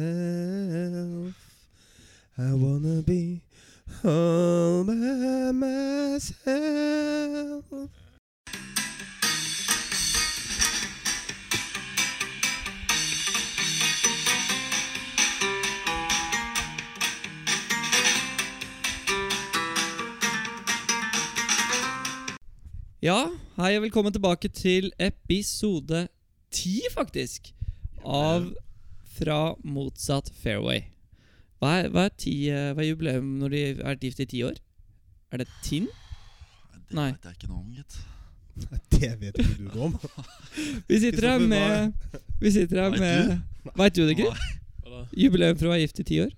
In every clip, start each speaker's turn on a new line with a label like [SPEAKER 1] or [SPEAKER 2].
[SPEAKER 1] myself. I wanna be all by myself.
[SPEAKER 2] Ja, hei og velkommen tilbake til episode 10, faktisk, av Fra motsatt fairway. Hva er, hva er, ti, eh, hva er jubileum når de er gift i ti år? Er det Tin?
[SPEAKER 3] Det
[SPEAKER 2] Nei.
[SPEAKER 3] vet jeg ikke noe om, gitt.
[SPEAKER 1] Det vet ikke du noe om.
[SPEAKER 2] Vi sitter her
[SPEAKER 1] Kristoffer,
[SPEAKER 2] med Vi sitter her
[SPEAKER 3] Vet
[SPEAKER 2] med Veit du det, Gry?
[SPEAKER 4] Hva da?
[SPEAKER 2] Jubileum for å være gift i ti år?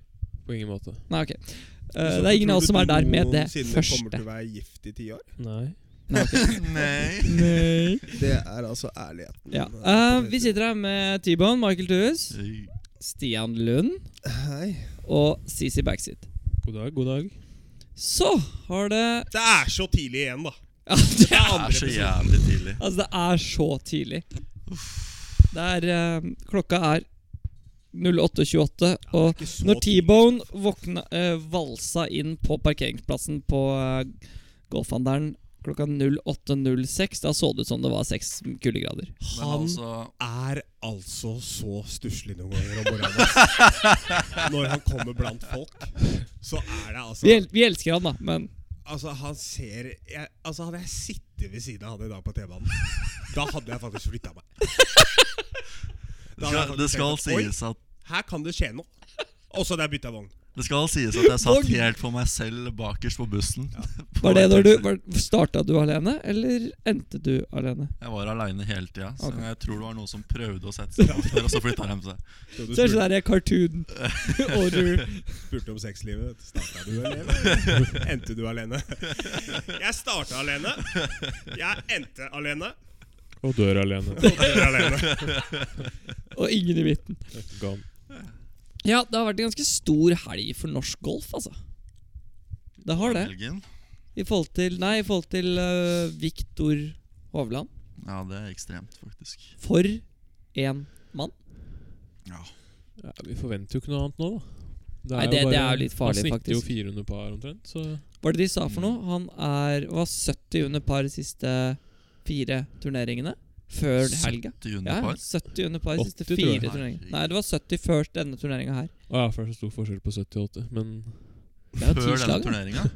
[SPEAKER 4] På ingen måte.
[SPEAKER 2] Nei, ok. Eh, det er ingen av oss som er der med det
[SPEAKER 1] kommer
[SPEAKER 2] første.
[SPEAKER 1] til å være gift i ti år.
[SPEAKER 4] Nei.
[SPEAKER 2] Nei, ok.
[SPEAKER 3] Nei.
[SPEAKER 2] Nei.
[SPEAKER 1] Det er altså ærligheten.
[SPEAKER 2] Ja. Eh, vi sitter her med T-Bone, Michael Thues, Stian Lund
[SPEAKER 1] Hei.
[SPEAKER 2] og CC Backseat.
[SPEAKER 4] God dag, god dag.
[SPEAKER 2] Så har det
[SPEAKER 1] Det er så tidlig igjen, da.
[SPEAKER 2] Ja, det
[SPEAKER 3] Det er så jævlig tidlig.
[SPEAKER 2] Altså, det er så tidlig. Det er eh, Klokka er 08.28, og
[SPEAKER 1] Ikke så
[SPEAKER 2] når
[SPEAKER 1] tidlig.
[SPEAKER 2] T-Bone våkna- eh, valsa inn på parkeringsplassen på uh, Golfhandelen klokka 08.06, da så det ut som det var seks kuldegrader.
[SPEAKER 3] Men
[SPEAKER 1] Han-
[SPEAKER 3] altså
[SPEAKER 1] er altså så stusslig noen ganger om morgenen. ass. Når han kommer blant folk, så er det altså
[SPEAKER 2] Vi, el vi elsker han, da, men
[SPEAKER 1] Altså, han ser jeg, Altså, hadde jeg sittet ved siden av han i dag på T-banen, da hadde jeg faktisk flytta meg. Da
[SPEAKER 3] Det
[SPEAKER 1] hadde jeg
[SPEAKER 3] skal,
[SPEAKER 1] faktisk
[SPEAKER 3] det skal
[SPEAKER 1] tenkt at,
[SPEAKER 3] sies at
[SPEAKER 1] Oi, her kan det skje noe. Og så hadde jeg bytta vogn.
[SPEAKER 3] Det skal sies at jeg
[SPEAKER 2] Og-
[SPEAKER 3] satt helt for meg selv bakerst på bussen.
[SPEAKER 2] var det når du var- Starta du alene, eller endte du alene?
[SPEAKER 3] Jeg var aleine hele tida, så
[SPEAKER 2] Ok.
[SPEAKER 3] jeg tror det var noen som prøvde å sette seg bak der, og så flytta de seg.
[SPEAKER 1] Så du
[SPEAKER 2] Så er det
[SPEAKER 1] spurte,
[SPEAKER 2] sånn der cartoon. og du
[SPEAKER 1] spurte om sexlivet. Starta du alene? eller Endte du alene? Jeg starta alene. Jeg endte alene.
[SPEAKER 4] Og dør alene.
[SPEAKER 1] Og dere alene.
[SPEAKER 2] Og ingen i midten.
[SPEAKER 4] Gone.
[SPEAKER 2] Ja, det har vært en ganske stor helg for norsk golf, altså. Det har det.
[SPEAKER 3] Helgen.
[SPEAKER 2] I forhold til Nei, i forhold til eh, Viktor Hovland.
[SPEAKER 3] Ja, det er ekstremt, faktisk.
[SPEAKER 2] For en mann.
[SPEAKER 3] Ja.
[SPEAKER 4] Ja, vi forventer jo ikke noe annet nå, da.
[SPEAKER 2] Nei, det- det er jo litt farlig,
[SPEAKER 4] Han snitter jo
[SPEAKER 2] faktisk.
[SPEAKER 4] 400 par omtrent, så
[SPEAKER 2] Hva er det de sa for noe? Han er, var 70 under par de siste fire turneringene. Før helga.
[SPEAKER 3] Til
[SPEAKER 2] Ja,
[SPEAKER 3] juniorpar.
[SPEAKER 2] 70 under par de siste
[SPEAKER 4] 80, tror
[SPEAKER 2] fire
[SPEAKER 4] jeg.
[SPEAKER 2] turneringene. Nei, det var 70 før denne turneringa her.
[SPEAKER 4] Å ja, for det er så stor forskjell på 78, men
[SPEAKER 2] Det er jo ti
[SPEAKER 3] Før denne
[SPEAKER 2] slag, da.
[SPEAKER 3] turneringa,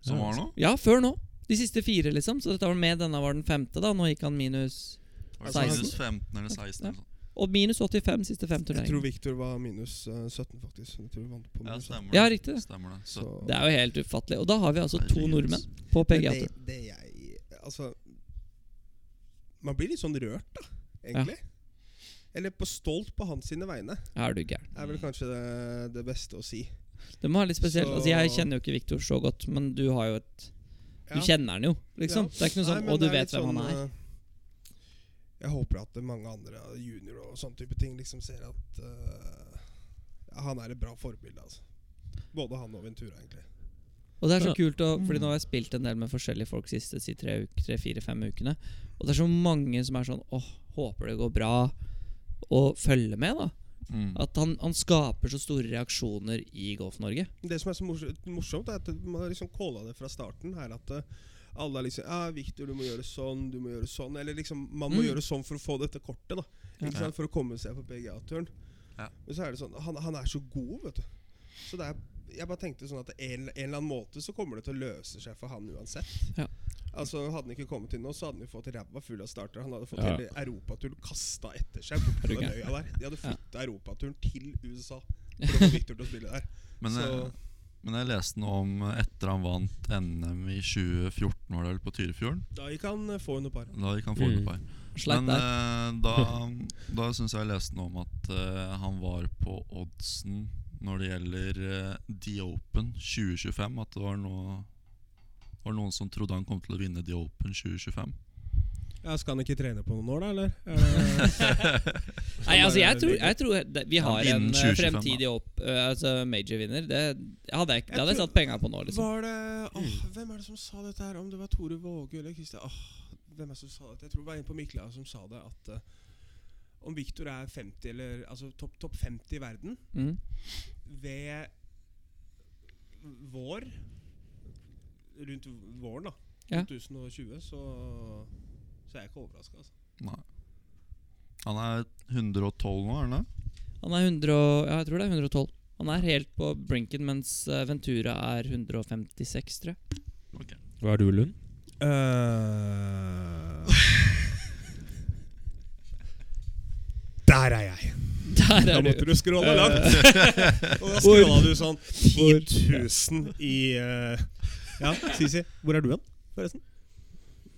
[SPEAKER 3] som var nå.
[SPEAKER 2] Ja, før nå. De siste fire, liksom. Så dette var med. Denne var den femte, da. Nå gikk han minus
[SPEAKER 3] Var det
[SPEAKER 2] 16?
[SPEAKER 3] minus 15 eller 16 eller sånt.
[SPEAKER 2] Og minus 85 siste fem
[SPEAKER 5] Jeg tror
[SPEAKER 2] turneringer.
[SPEAKER 5] Victor var minus eh, 17, faktisk. Jeg tror vi vant på
[SPEAKER 3] Ja,
[SPEAKER 5] minus 17.
[SPEAKER 3] stemmer det.
[SPEAKER 2] Ja, riktig det.
[SPEAKER 3] Stemmer det.
[SPEAKER 5] Så-
[SPEAKER 3] Så,
[SPEAKER 2] Det er jo helt ufattelig. Og da har vi altså to
[SPEAKER 3] Herregud.
[SPEAKER 2] nordmenn på
[SPEAKER 5] Men
[SPEAKER 2] PGA.
[SPEAKER 5] det, det jeg Altså Man blir litt sånn rørt, da, egentlig. Eller på stolt på hans sine vegne,
[SPEAKER 2] Er du gæren?
[SPEAKER 5] er
[SPEAKER 3] Mm.
[SPEAKER 5] vel kanskje det, det beste å si.
[SPEAKER 2] Det må være litt spesielt.
[SPEAKER 5] Så-
[SPEAKER 2] Altså, jeg kjenner jo ikke Viktor så godt, men du har jo et Du kjenner han jo, liksom.
[SPEAKER 5] Ja.
[SPEAKER 2] Det er ikke noe sånn
[SPEAKER 5] Nei, men
[SPEAKER 2] 'Å, du
[SPEAKER 5] det er
[SPEAKER 2] vet
[SPEAKER 5] litt
[SPEAKER 2] hvem han er'.
[SPEAKER 5] sånn, eh, Jeg håper at mange andre eh, junior og sånne type ting liksom ser at eh, ja, han er et bra forbilde, altså. Både han og Ventura, egentlig.
[SPEAKER 2] Og det er så
[SPEAKER 4] Ja.
[SPEAKER 2] kult, å,
[SPEAKER 5] Mm.
[SPEAKER 2] Fordi nå har jeg spilt en del med forskjellige folk siste si tre, uk- tre, fire, fem ukene. Og det er så mange som er sånn 'Å, håper det går bra', og følger med, da.
[SPEAKER 3] mm.
[SPEAKER 2] At han, han skaper så store reaksjoner i Golf-Norge.
[SPEAKER 5] Det som er så mors- morsomt, er at man har liksom calla det fra starten her at eh, alle er liksom Ja, Victor, du må gjøre sånn, du må gjøre sånn. Eller liksom, man må
[SPEAKER 2] Mm.
[SPEAKER 5] gjøre sånn for å få dette kortet, da. Ikke
[SPEAKER 3] Ja.
[SPEAKER 5] sant? For å komme seg på PGA-turen.
[SPEAKER 3] Ja.
[SPEAKER 5] Men så er det sånn han, han er så god, vet du. Så det er Jeg bare tenkte sånn at en, en eller annen måte så kommer det til å løse seg for han uansett.
[SPEAKER 2] Ja.
[SPEAKER 5] Altså Hadde han ikke kommet inn nå, så hadde han jo fått ræva full av startere. Han hadde fått
[SPEAKER 4] Ja.
[SPEAKER 5] hele Europaturen kasta etter seg bort på
[SPEAKER 2] Er du
[SPEAKER 5] den
[SPEAKER 2] gæren?
[SPEAKER 5] øya der. De hadde
[SPEAKER 2] Ja.
[SPEAKER 5] flytta Europaturen til USA for å få Victor til å spille der.
[SPEAKER 3] Men jeg,
[SPEAKER 5] Så-
[SPEAKER 3] men jeg leste noe om eh, etter han vant NM i 2014, var det vel, på Tyrifjorden.
[SPEAKER 5] Da gikk han eh, få under par.
[SPEAKER 3] Da gikk han forbi
[SPEAKER 4] Mm.
[SPEAKER 3] par.
[SPEAKER 2] Sleit
[SPEAKER 3] Men
[SPEAKER 2] der.
[SPEAKER 3] eh, da, da syns jeg jeg leste noe om at eh, han var på oddsen når det gjelder eh, The Open 2025. At det var, noe, var noen som trodde han kom til å vinne The Open 2025.
[SPEAKER 5] Ja, Skal han ikke trene på noen år, da? eller? Eh,
[SPEAKER 2] Nei, altså, jeg tror, jeg tror det- vi har en
[SPEAKER 3] innen
[SPEAKER 2] eh,
[SPEAKER 3] 2025, da.
[SPEAKER 2] fremtidig opp, eh, altså major-vinner. Det hadde jeg, det hadde
[SPEAKER 5] tror-
[SPEAKER 2] jeg satt penga på nå, liksom.
[SPEAKER 5] Var det åh, Hvem er det som sa dette her? Om det var Tore Våge eller Kristian Åh, Hvem er det som sa dette? Jeg tror det var en på Mikla som sa det. At eh, Om Victor er 50 eller, altså topp topp 50 i verden
[SPEAKER 2] Mm.
[SPEAKER 5] ved vår Rundt våren, da.
[SPEAKER 2] Ja.
[SPEAKER 5] 2020, så, så er jeg ikke overraska. Altså.
[SPEAKER 3] Nei. Han er 112 nå, er han det?
[SPEAKER 2] Han er 100 og, ja, jeg tror det er 112. Han er helt på brinken, mens eh, Ventura er 156, tror jeg.
[SPEAKER 4] Hva er du, Lund?
[SPEAKER 5] Eh. Der er jeg!
[SPEAKER 2] Der
[SPEAKER 5] Da
[SPEAKER 2] er
[SPEAKER 5] måtte
[SPEAKER 2] du. Eh.
[SPEAKER 5] du scrolle langt. Og da scrolla du sånn 10 000 i eh, Ja, Sisi, hvor er du hen, forresten?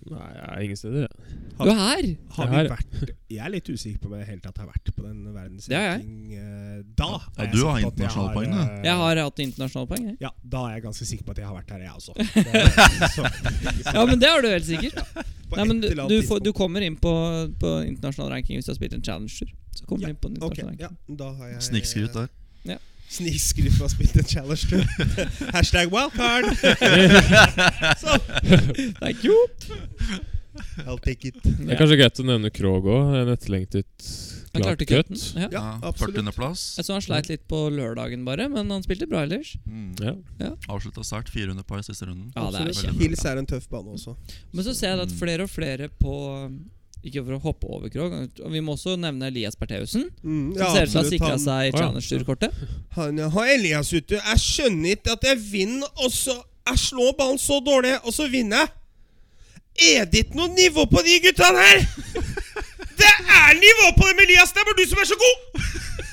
[SPEAKER 4] Nei, jeg er ingen steder, jeg.
[SPEAKER 2] Du er her!
[SPEAKER 5] Har
[SPEAKER 4] Jeg
[SPEAKER 5] vi
[SPEAKER 4] er-
[SPEAKER 5] vært Jeg er litt usikker på om jeg i det hele tatt har vært på den
[SPEAKER 2] Det er jeg.
[SPEAKER 5] verdensranking eh, Da
[SPEAKER 3] Ja,
[SPEAKER 5] jeg
[SPEAKER 3] du
[SPEAKER 5] sagt
[SPEAKER 3] har
[SPEAKER 5] at jeg
[SPEAKER 3] internasjonale poeng,
[SPEAKER 5] eh,
[SPEAKER 2] Jeg har hatt internasjonale poeng, jeg.
[SPEAKER 5] Ja, da er jeg ganske sikker på at jeg har vært her, jeg også. Det- så-
[SPEAKER 2] Ja, men det har du helt sikkert.
[SPEAKER 5] på
[SPEAKER 2] Nei, men
[SPEAKER 5] et
[SPEAKER 2] du,
[SPEAKER 5] eller
[SPEAKER 2] du,
[SPEAKER 5] annet
[SPEAKER 2] får, du
[SPEAKER 5] tidspunkt.
[SPEAKER 2] kommer inn på, på internasjonal ranking hvis du har spilt en challenger. Så kommer du inn på en
[SPEAKER 6] Ok,
[SPEAKER 2] internasjonal
[SPEAKER 6] ja,
[SPEAKER 2] ranking.
[SPEAKER 6] da har jeg
[SPEAKER 3] Snikskryt der.
[SPEAKER 6] Snikskryt for å ha spilt en challenge tur.
[SPEAKER 5] Hashtag wildcard!
[SPEAKER 2] Thank you!
[SPEAKER 6] I'll take it.
[SPEAKER 4] Det er kanskje greit å nevne Krog òg. En etterlengtet
[SPEAKER 2] Han klarte
[SPEAKER 4] klart cut.
[SPEAKER 2] cutten. Ja.
[SPEAKER 6] Ja, absolutt.
[SPEAKER 3] 40.-plass.
[SPEAKER 2] Jeg så han sleit litt på lørdagen, bare, men han spilte bra ellers.
[SPEAKER 3] Mm.
[SPEAKER 4] Ja.
[SPEAKER 3] Avslutta sterkt. 400 par i siste runden.
[SPEAKER 2] Ja, det er
[SPEAKER 3] Veldig bra.
[SPEAKER 6] Hills er en tøff bane også.
[SPEAKER 2] Men så ser jeg at
[SPEAKER 3] Mm.
[SPEAKER 2] flere og flere på Ikke for å hoppe over Krog, og vi må også nevne Elias Bertheussen.
[SPEAKER 6] Mm,
[SPEAKER 2] Som ser ut til å ha
[SPEAKER 6] absolutt.
[SPEAKER 2] sikra
[SPEAKER 6] Han-
[SPEAKER 2] seg
[SPEAKER 4] Å, ja.
[SPEAKER 2] challenger-kortet.
[SPEAKER 6] Han har Elias ute. Jeg skjønner ikke at jeg vinner, og så Jeg slår ballen så dårlig, og så vinner jeg. Er det ikke noe nivå på de guttene her?! Det er nivå på dem, Elias! Det er bare du som er så god!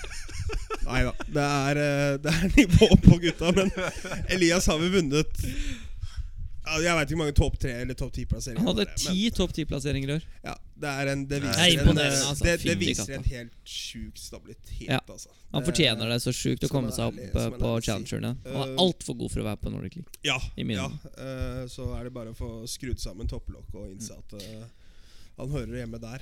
[SPEAKER 6] Nei da. Det, er, eh, det er nivå på gutta, men Elias har vel vunnet ja, Jeg veit ikke hvor mange topp tre- eller topp ti-plasseringer.
[SPEAKER 2] Han hadde
[SPEAKER 6] det er, men-
[SPEAKER 2] ti topp ti-plasseringer i år.
[SPEAKER 6] Ja, det er en Det viser,
[SPEAKER 2] Det er
[SPEAKER 6] en,
[SPEAKER 2] imponerende, altså.
[SPEAKER 6] det, det
[SPEAKER 2] Fytti
[SPEAKER 6] viser
[SPEAKER 2] katta.
[SPEAKER 6] en helt sjuk stabilitet,
[SPEAKER 2] Ja.
[SPEAKER 6] altså.
[SPEAKER 2] Han fortjener det så sjukt å
[SPEAKER 6] som
[SPEAKER 2] komme
[SPEAKER 6] en
[SPEAKER 2] seg opp
[SPEAKER 6] ærlig-
[SPEAKER 2] eh,
[SPEAKER 6] som en
[SPEAKER 2] på
[SPEAKER 6] ærlig si.
[SPEAKER 2] challengerne. Han er
[SPEAKER 6] Eh,
[SPEAKER 2] altfor god for å være på Nordic League.
[SPEAKER 6] Ja,
[SPEAKER 2] i mine
[SPEAKER 6] ja
[SPEAKER 2] øyne.
[SPEAKER 6] eh, så er det bare å få skrudd sammen topplokket og innse at eh, han hører hjemme der.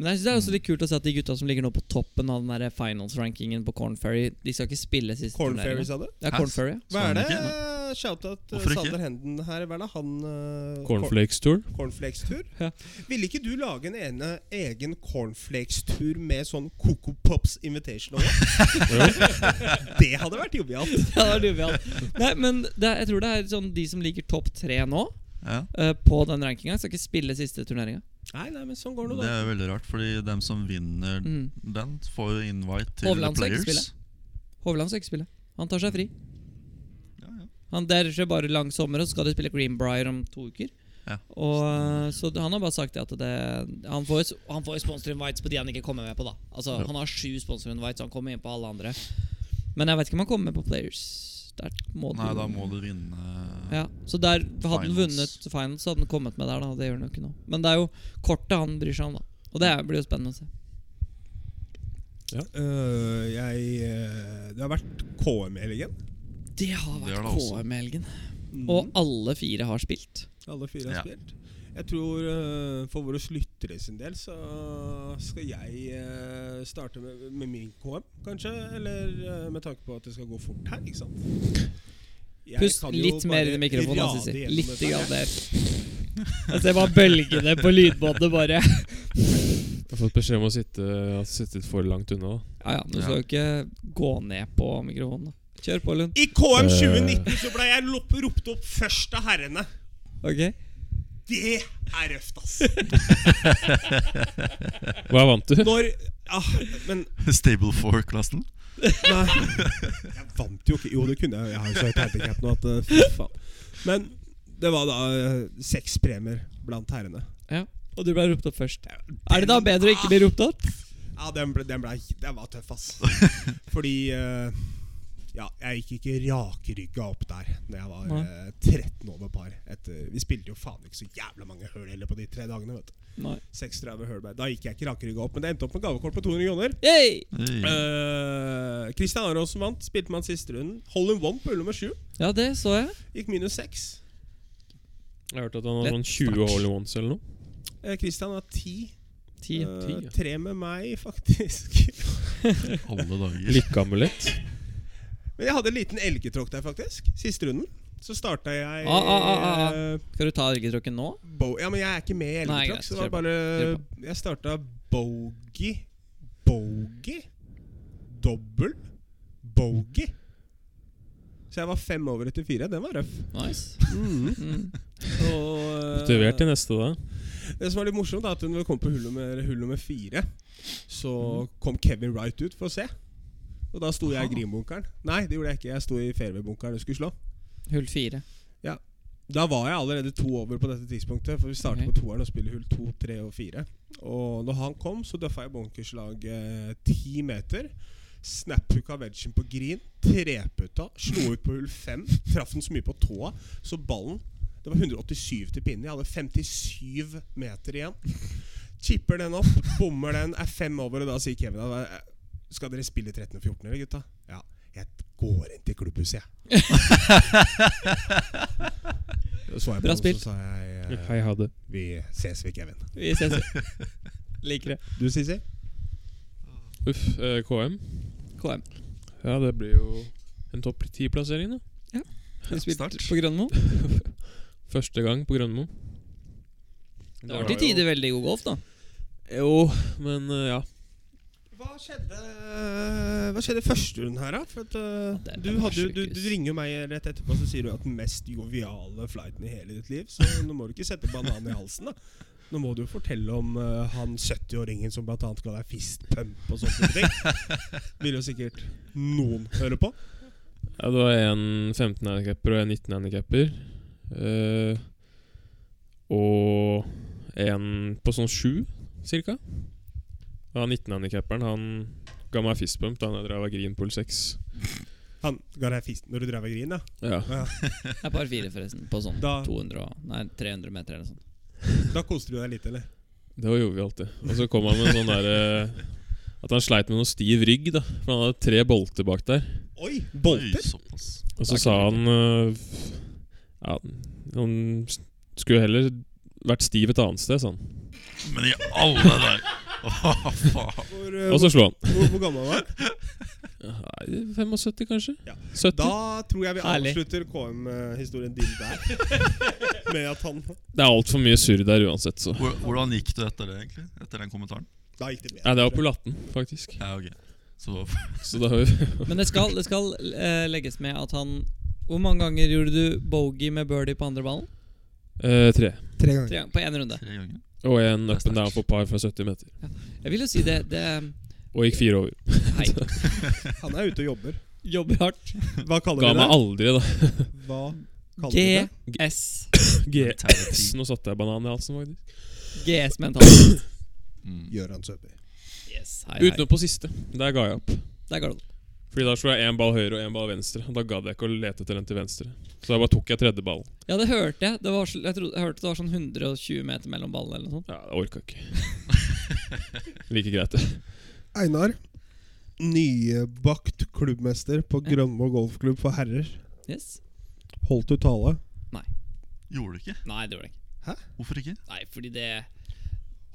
[SPEAKER 2] Men jeg synes Det er også litt kult å se at de gutta som ligger nå på toppen av den der finals-rankingen på Corn Ferry, de skal ikke spille siste
[SPEAKER 6] Corn Ferry,
[SPEAKER 2] turneringen.
[SPEAKER 6] sa du?
[SPEAKER 2] Ja, Corn Ferry, ja.
[SPEAKER 6] Hva
[SPEAKER 3] Skal
[SPEAKER 6] er
[SPEAKER 3] han
[SPEAKER 6] det?
[SPEAKER 3] ikke?
[SPEAKER 6] eh, Shout-out eh,
[SPEAKER 3] Hvorfor ikke?
[SPEAKER 6] Sander Henden her. Hva er det han eh, cor-
[SPEAKER 4] Cornflakes-turen.
[SPEAKER 6] Cornflakes-tur?
[SPEAKER 2] Ja.
[SPEAKER 6] Ville ikke du lage en ene, egen cornflakes-tur med sånn Coco Pops Invitational? det hadde vært jovialt.
[SPEAKER 2] ja det er dumt, ja. Nei, men det, er- jeg tror det er sånn de som ligger topp tre nå,
[SPEAKER 3] Ja.
[SPEAKER 2] eh, på den rankinga, skal ikke spille siste turneringa.
[SPEAKER 6] Nei, nei, men sånn går
[SPEAKER 3] Det er jo veldig rart, fordi dem som vinner
[SPEAKER 2] Mm.
[SPEAKER 3] den, får jo invite til
[SPEAKER 2] Hovland
[SPEAKER 3] the
[SPEAKER 2] skal ikke
[SPEAKER 3] players.
[SPEAKER 2] Hovland skal ikke spille. Han tar seg fri.
[SPEAKER 3] Ja, ja.
[SPEAKER 2] Han der seg bare lang sommer, og så skal de spille Greenbrier om to uker.
[SPEAKER 3] Ja.
[SPEAKER 2] Og, eh, så han har bare sagt det at det, han får, jo s- han får jo sponsor-invites på de han ikke kommer med på, da. Altså,
[SPEAKER 4] Ja.
[SPEAKER 2] Han har sju sponsor-invites, så han kommer inn på alle andre. Men jeg vet ikke om han kommer med på Players. Der må
[SPEAKER 3] Nei,
[SPEAKER 2] du-
[SPEAKER 3] da må du vinne
[SPEAKER 2] ja, Så der hadde han
[SPEAKER 3] Finals.
[SPEAKER 2] vunnet finals, så hadde han kommet med der, da. Det gjør han jo ikke nå. Men det er jo kortet han bryr seg om, da. Og det er- blir jo spennende å se.
[SPEAKER 5] Øh, jeg øh, Det har vært KM-helgen.
[SPEAKER 2] Det har
[SPEAKER 3] Det er
[SPEAKER 2] vært
[SPEAKER 3] det også. Mm.
[SPEAKER 2] KM-helgen. Og alle fire har spilt.
[SPEAKER 5] Mm. Alle fire har
[SPEAKER 3] Ja.
[SPEAKER 5] spilt. Jeg tror øh, for våre lyttere sin del så skal jeg øh, starte med, med min KM, kanskje. Eller øh, med tanke på at det skal gå fort her, ikke sant. Jeg
[SPEAKER 2] Pust
[SPEAKER 5] kan jo
[SPEAKER 2] litt mer i
[SPEAKER 5] bare
[SPEAKER 2] den mikrofonen, da,
[SPEAKER 5] rade
[SPEAKER 2] Sissi.
[SPEAKER 5] gjennom
[SPEAKER 2] Litt
[SPEAKER 5] dette.
[SPEAKER 2] grann der. Jeg ser bare bølgene på lydbåndet, bare.
[SPEAKER 4] Jeg har fått beskjed om å sitte at sittet for langt unna. da.
[SPEAKER 2] Ja ja, men du skal jo ikke gå ned på mikrofonen. da Kjør på, Lund.
[SPEAKER 5] I KM 2019 så ble jeg lop- ropt opp først av herrene.
[SPEAKER 2] Ok?
[SPEAKER 5] Det er røft, ass!
[SPEAKER 4] Hva vant du?
[SPEAKER 5] Når ah, Men
[SPEAKER 3] Stable 4-klassen.
[SPEAKER 5] Nei. Jeg vant jo ikke. Jo, det kunne jeg. Jeg har jo så høyt handicap nå at eh, fy faen. Men det var da eh, seks premier blant herrene.
[SPEAKER 2] Ja. Og du ble ropt opp først. Er det da bedre å ikke bli ropt opp?
[SPEAKER 5] Ja, den, ble, den, ble, den var tøff, ass. Fordi eh, Ja, jeg gikk ikke rakrygga opp der da jeg var
[SPEAKER 2] Nei.
[SPEAKER 5] eh, 13 over par. Etter, vi spilte jo faen ikke så jævla mange høl heller på de tre dagene. vet du 36 høl hver. Da gikk jeg ikke rakrygga opp, men det endte opp med gavekort på 200 kroner.
[SPEAKER 2] Hey!
[SPEAKER 3] Hey.
[SPEAKER 5] Eh, Christian Aronsen vant, spilte man siste runden. Hole in one på hull nummer sju.
[SPEAKER 2] Ja, det så jeg.
[SPEAKER 5] Gikk minus seks.
[SPEAKER 4] Jeg hørte at han hadde
[SPEAKER 2] Lett
[SPEAKER 4] sånn 20
[SPEAKER 2] start.
[SPEAKER 4] hole ones eller noe.
[SPEAKER 5] Eh, Christian har ti.
[SPEAKER 2] Ti.
[SPEAKER 5] Eh,
[SPEAKER 4] ti, ja.
[SPEAKER 5] tre med meg, faktisk.
[SPEAKER 3] Alle dager.
[SPEAKER 4] Lykkeamulett.
[SPEAKER 5] Men jeg hadde en liten elgetråkk der, faktisk. Siste runden. Så starta jeg
[SPEAKER 2] Ah, ah, ah, ah.
[SPEAKER 5] eh,
[SPEAKER 2] Skal du ta elgetråkken nå?
[SPEAKER 5] bo Ja, men jeg er ikke med i
[SPEAKER 2] Nei,
[SPEAKER 5] elgetråkk,
[SPEAKER 2] greit.
[SPEAKER 5] så det var
[SPEAKER 2] Kjør på.
[SPEAKER 5] bare
[SPEAKER 2] Kjør
[SPEAKER 5] Jeg starta bogey bogey. Dobbel bogey. Så jeg var fem over etter fire. Den var røff.
[SPEAKER 2] Nice.
[SPEAKER 5] Mm.
[SPEAKER 2] Mm.
[SPEAKER 5] Og, eh,
[SPEAKER 4] Motivert til neste, da.
[SPEAKER 5] det som var litt morsomt, er at når vi kom på hull nummer, hull nummer fire, så kom Kevin Wright ut for å se. Og da sto jeg i grinbunkeren. Nei, det gjorde jeg ikke. Jeg sto i fairwaybunkeren og skulle slå.
[SPEAKER 2] Hull fire.
[SPEAKER 5] Da var jeg allerede to over på dette tidspunktet, for vi starter
[SPEAKER 2] Ok.
[SPEAKER 5] på toeren og spiller hull to, tre og fire. Og når han kom, så døffa jeg bunkerslaget ti meter. Snaphooka vegen på green, treputa, slo ut på hull fem. Traff den så mye på tåa, så ballen Det var 187 til pinnen. Jeg hadde 57 meter igjen. Chipper den opp, bommer den, er fem over, og da sier Kevin at "Eh, skal dere spille 13 og 14, eller gutta? Ja. Jeg går inn til klubbhuset, jeg. så jeg på
[SPEAKER 2] Bra
[SPEAKER 5] han,
[SPEAKER 2] spilt.
[SPEAKER 5] Så sa jeg eh,
[SPEAKER 4] Hei, ha det.
[SPEAKER 5] Vi ses, vi, Kevin.
[SPEAKER 2] Vi ses. Liker det.
[SPEAKER 5] Du, Sisi?
[SPEAKER 4] Uff. eh, KM?
[SPEAKER 2] KM.
[SPEAKER 4] Ja, det blir jo en topp ti-plassering, da.
[SPEAKER 2] Vi spilte
[SPEAKER 3] Start.
[SPEAKER 2] på Grønmo.
[SPEAKER 4] Første gang på Grønmo.
[SPEAKER 2] Det var til tider veldig god golf, da.
[SPEAKER 4] Jo, men eh, ja.
[SPEAKER 5] Hva skjedde, hva skjedde første runden her, da? For at, eh,
[SPEAKER 2] det er
[SPEAKER 5] du,
[SPEAKER 2] bare
[SPEAKER 5] hadde, jo- du,
[SPEAKER 2] sykehus.
[SPEAKER 5] du ringer jo meg rett etterpå så sier du at den mest joviale flighten i hele ditt liv. Så nå må du ikke sette banan i halsen, da. Nå må du jo fortelle om eh, han 70-åringen som blant annet ga deg fistpump og sånne type ting. Vil jo sikkert noen høre på.
[SPEAKER 4] Ja, det var en 15-handikapper og en 19-handikapper. Eh, og en på sånn sju, cirka. Og han 19-handikapperen, han ga meg fistbump da han drev av Greenpool 6.
[SPEAKER 5] Han ga deg fist når du drev og grin, da.
[SPEAKER 4] Ja.
[SPEAKER 2] Det er par fire, forresten. På sånn
[SPEAKER 5] Da-
[SPEAKER 2] 200 og Nei, 300 meter eller sånn. noe sånt.
[SPEAKER 5] Da koste du deg litt, eller?
[SPEAKER 4] Det gjorde vi alltid. Og så kom han med en sånn derre At han sleit med noe stiv rygg, da. For han hadde tre bolter bak der.
[SPEAKER 5] Oi!
[SPEAKER 3] Oi,
[SPEAKER 5] Bolter?
[SPEAKER 3] såpass.
[SPEAKER 4] Og så sa han øh, f- Ja, han s- skulle heller vært stiv et annet sted, sa han.
[SPEAKER 3] Men i alle dager! Åh, faen.
[SPEAKER 5] Hvor, eh,
[SPEAKER 4] Og så slo han.
[SPEAKER 5] hvor, hvor gammel var han?
[SPEAKER 4] Nei, 75, kanskje?
[SPEAKER 5] Ja.
[SPEAKER 4] 70?
[SPEAKER 5] Da tror jeg vi
[SPEAKER 2] Herlig.
[SPEAKER 5] avslutter KM-historien din der. Med at han
[SPEAKER 4] Det er altfor mye surr der uansett, så.
[SPEAKER 3] Hvor- Hvordan gikk du etter det, egentlig? Etter den kommentaren?
[SPEAKER 5] Da gikk det bedre.
[SPEAKER 4] Nei, det var på 18, faktisk.
[SPEAKER 3] Ja, ok. Så
[SPEAKER 4] Så da har vi
[SPEAKER 2] Men det skal, det skal eh, legges med at han Hvor mange ganger gjorde du bogey med birdie på andre ballen?
[SPEAKER 4] Eh, Tre.
[SPEAKER 5] Tre ganger.
[SPEAKER 2] Tre, på én runde.
[SPEAKER 3] tre ganger.
[SPEAKER 4] Og en
[SPEAKER 3] Det er
[SPEAKER 4] up and down
[SPEAKER 3] sterkt.
[SPEAKER 4] for par fra 70 meter.
[SPEAKER 2] Jeg vil jo si det, det
[SPEAKER 4] Og gikk fire over.
[SPEAKER 2] Hei.
[SPEAKER 5] Han er ute og jobber.
[SPEAKER 2] Jobber hardt.
[SPEAKER 5] Hva kaller
[SPEAKER 4] Ga
[SPEAKER 5] vi
[SPEAKER 4] meg
[SPEAKER 5] det?
[SPEAKER 4] aldri, da.
[SPEAKER 5] Hva kaller vi det?
[SPEAKER 2] GS.
[SPEAKER 3] Mentality.
[SPEAKER 4] Nå satte jeg banan i halsen, faktisk.
[SPEAKER 2] GS mentalt.
[SPEAKER 3] Mm.
[SPEAKER 5] Gøran Søby.
[SPEAKER 2] Yes, hei, hei.
[SPEAKER 4] Utenom på siste. Der ga jeg opp.
[SPEAKER 2] Der går det.
[SPEAKER 4] Fordi da slo jeg én ball høyre og én ball venstre. Og Da gadd jeg ikke å lete etter den til venstre. Så da bare tok jeg tredje ballen.
[SPEAKER 2] Ja, det hørte jeg. Det var, så- jeg, trodde, jeg hørte det var sånn 120 meter mellom ballene eller noe sånt.
[SPEAKER 4] Ja, jeg orka ikke. like greit, det.
[SPEAKER 5] Einar. Nybakt klubbmester på Grønmo golfklubb for herrer.
[SPEAKER 2] Yes.
[SPEAKER 5] Holdt du tale?
[SPEAKER 3] Gjorde du ikke?
[SPEAKER 2] Nei, det gjorde jeg ikke.
[SPEAKER 3] Hvorfor ikke?
[SPEAKER 2] Nei, fordi det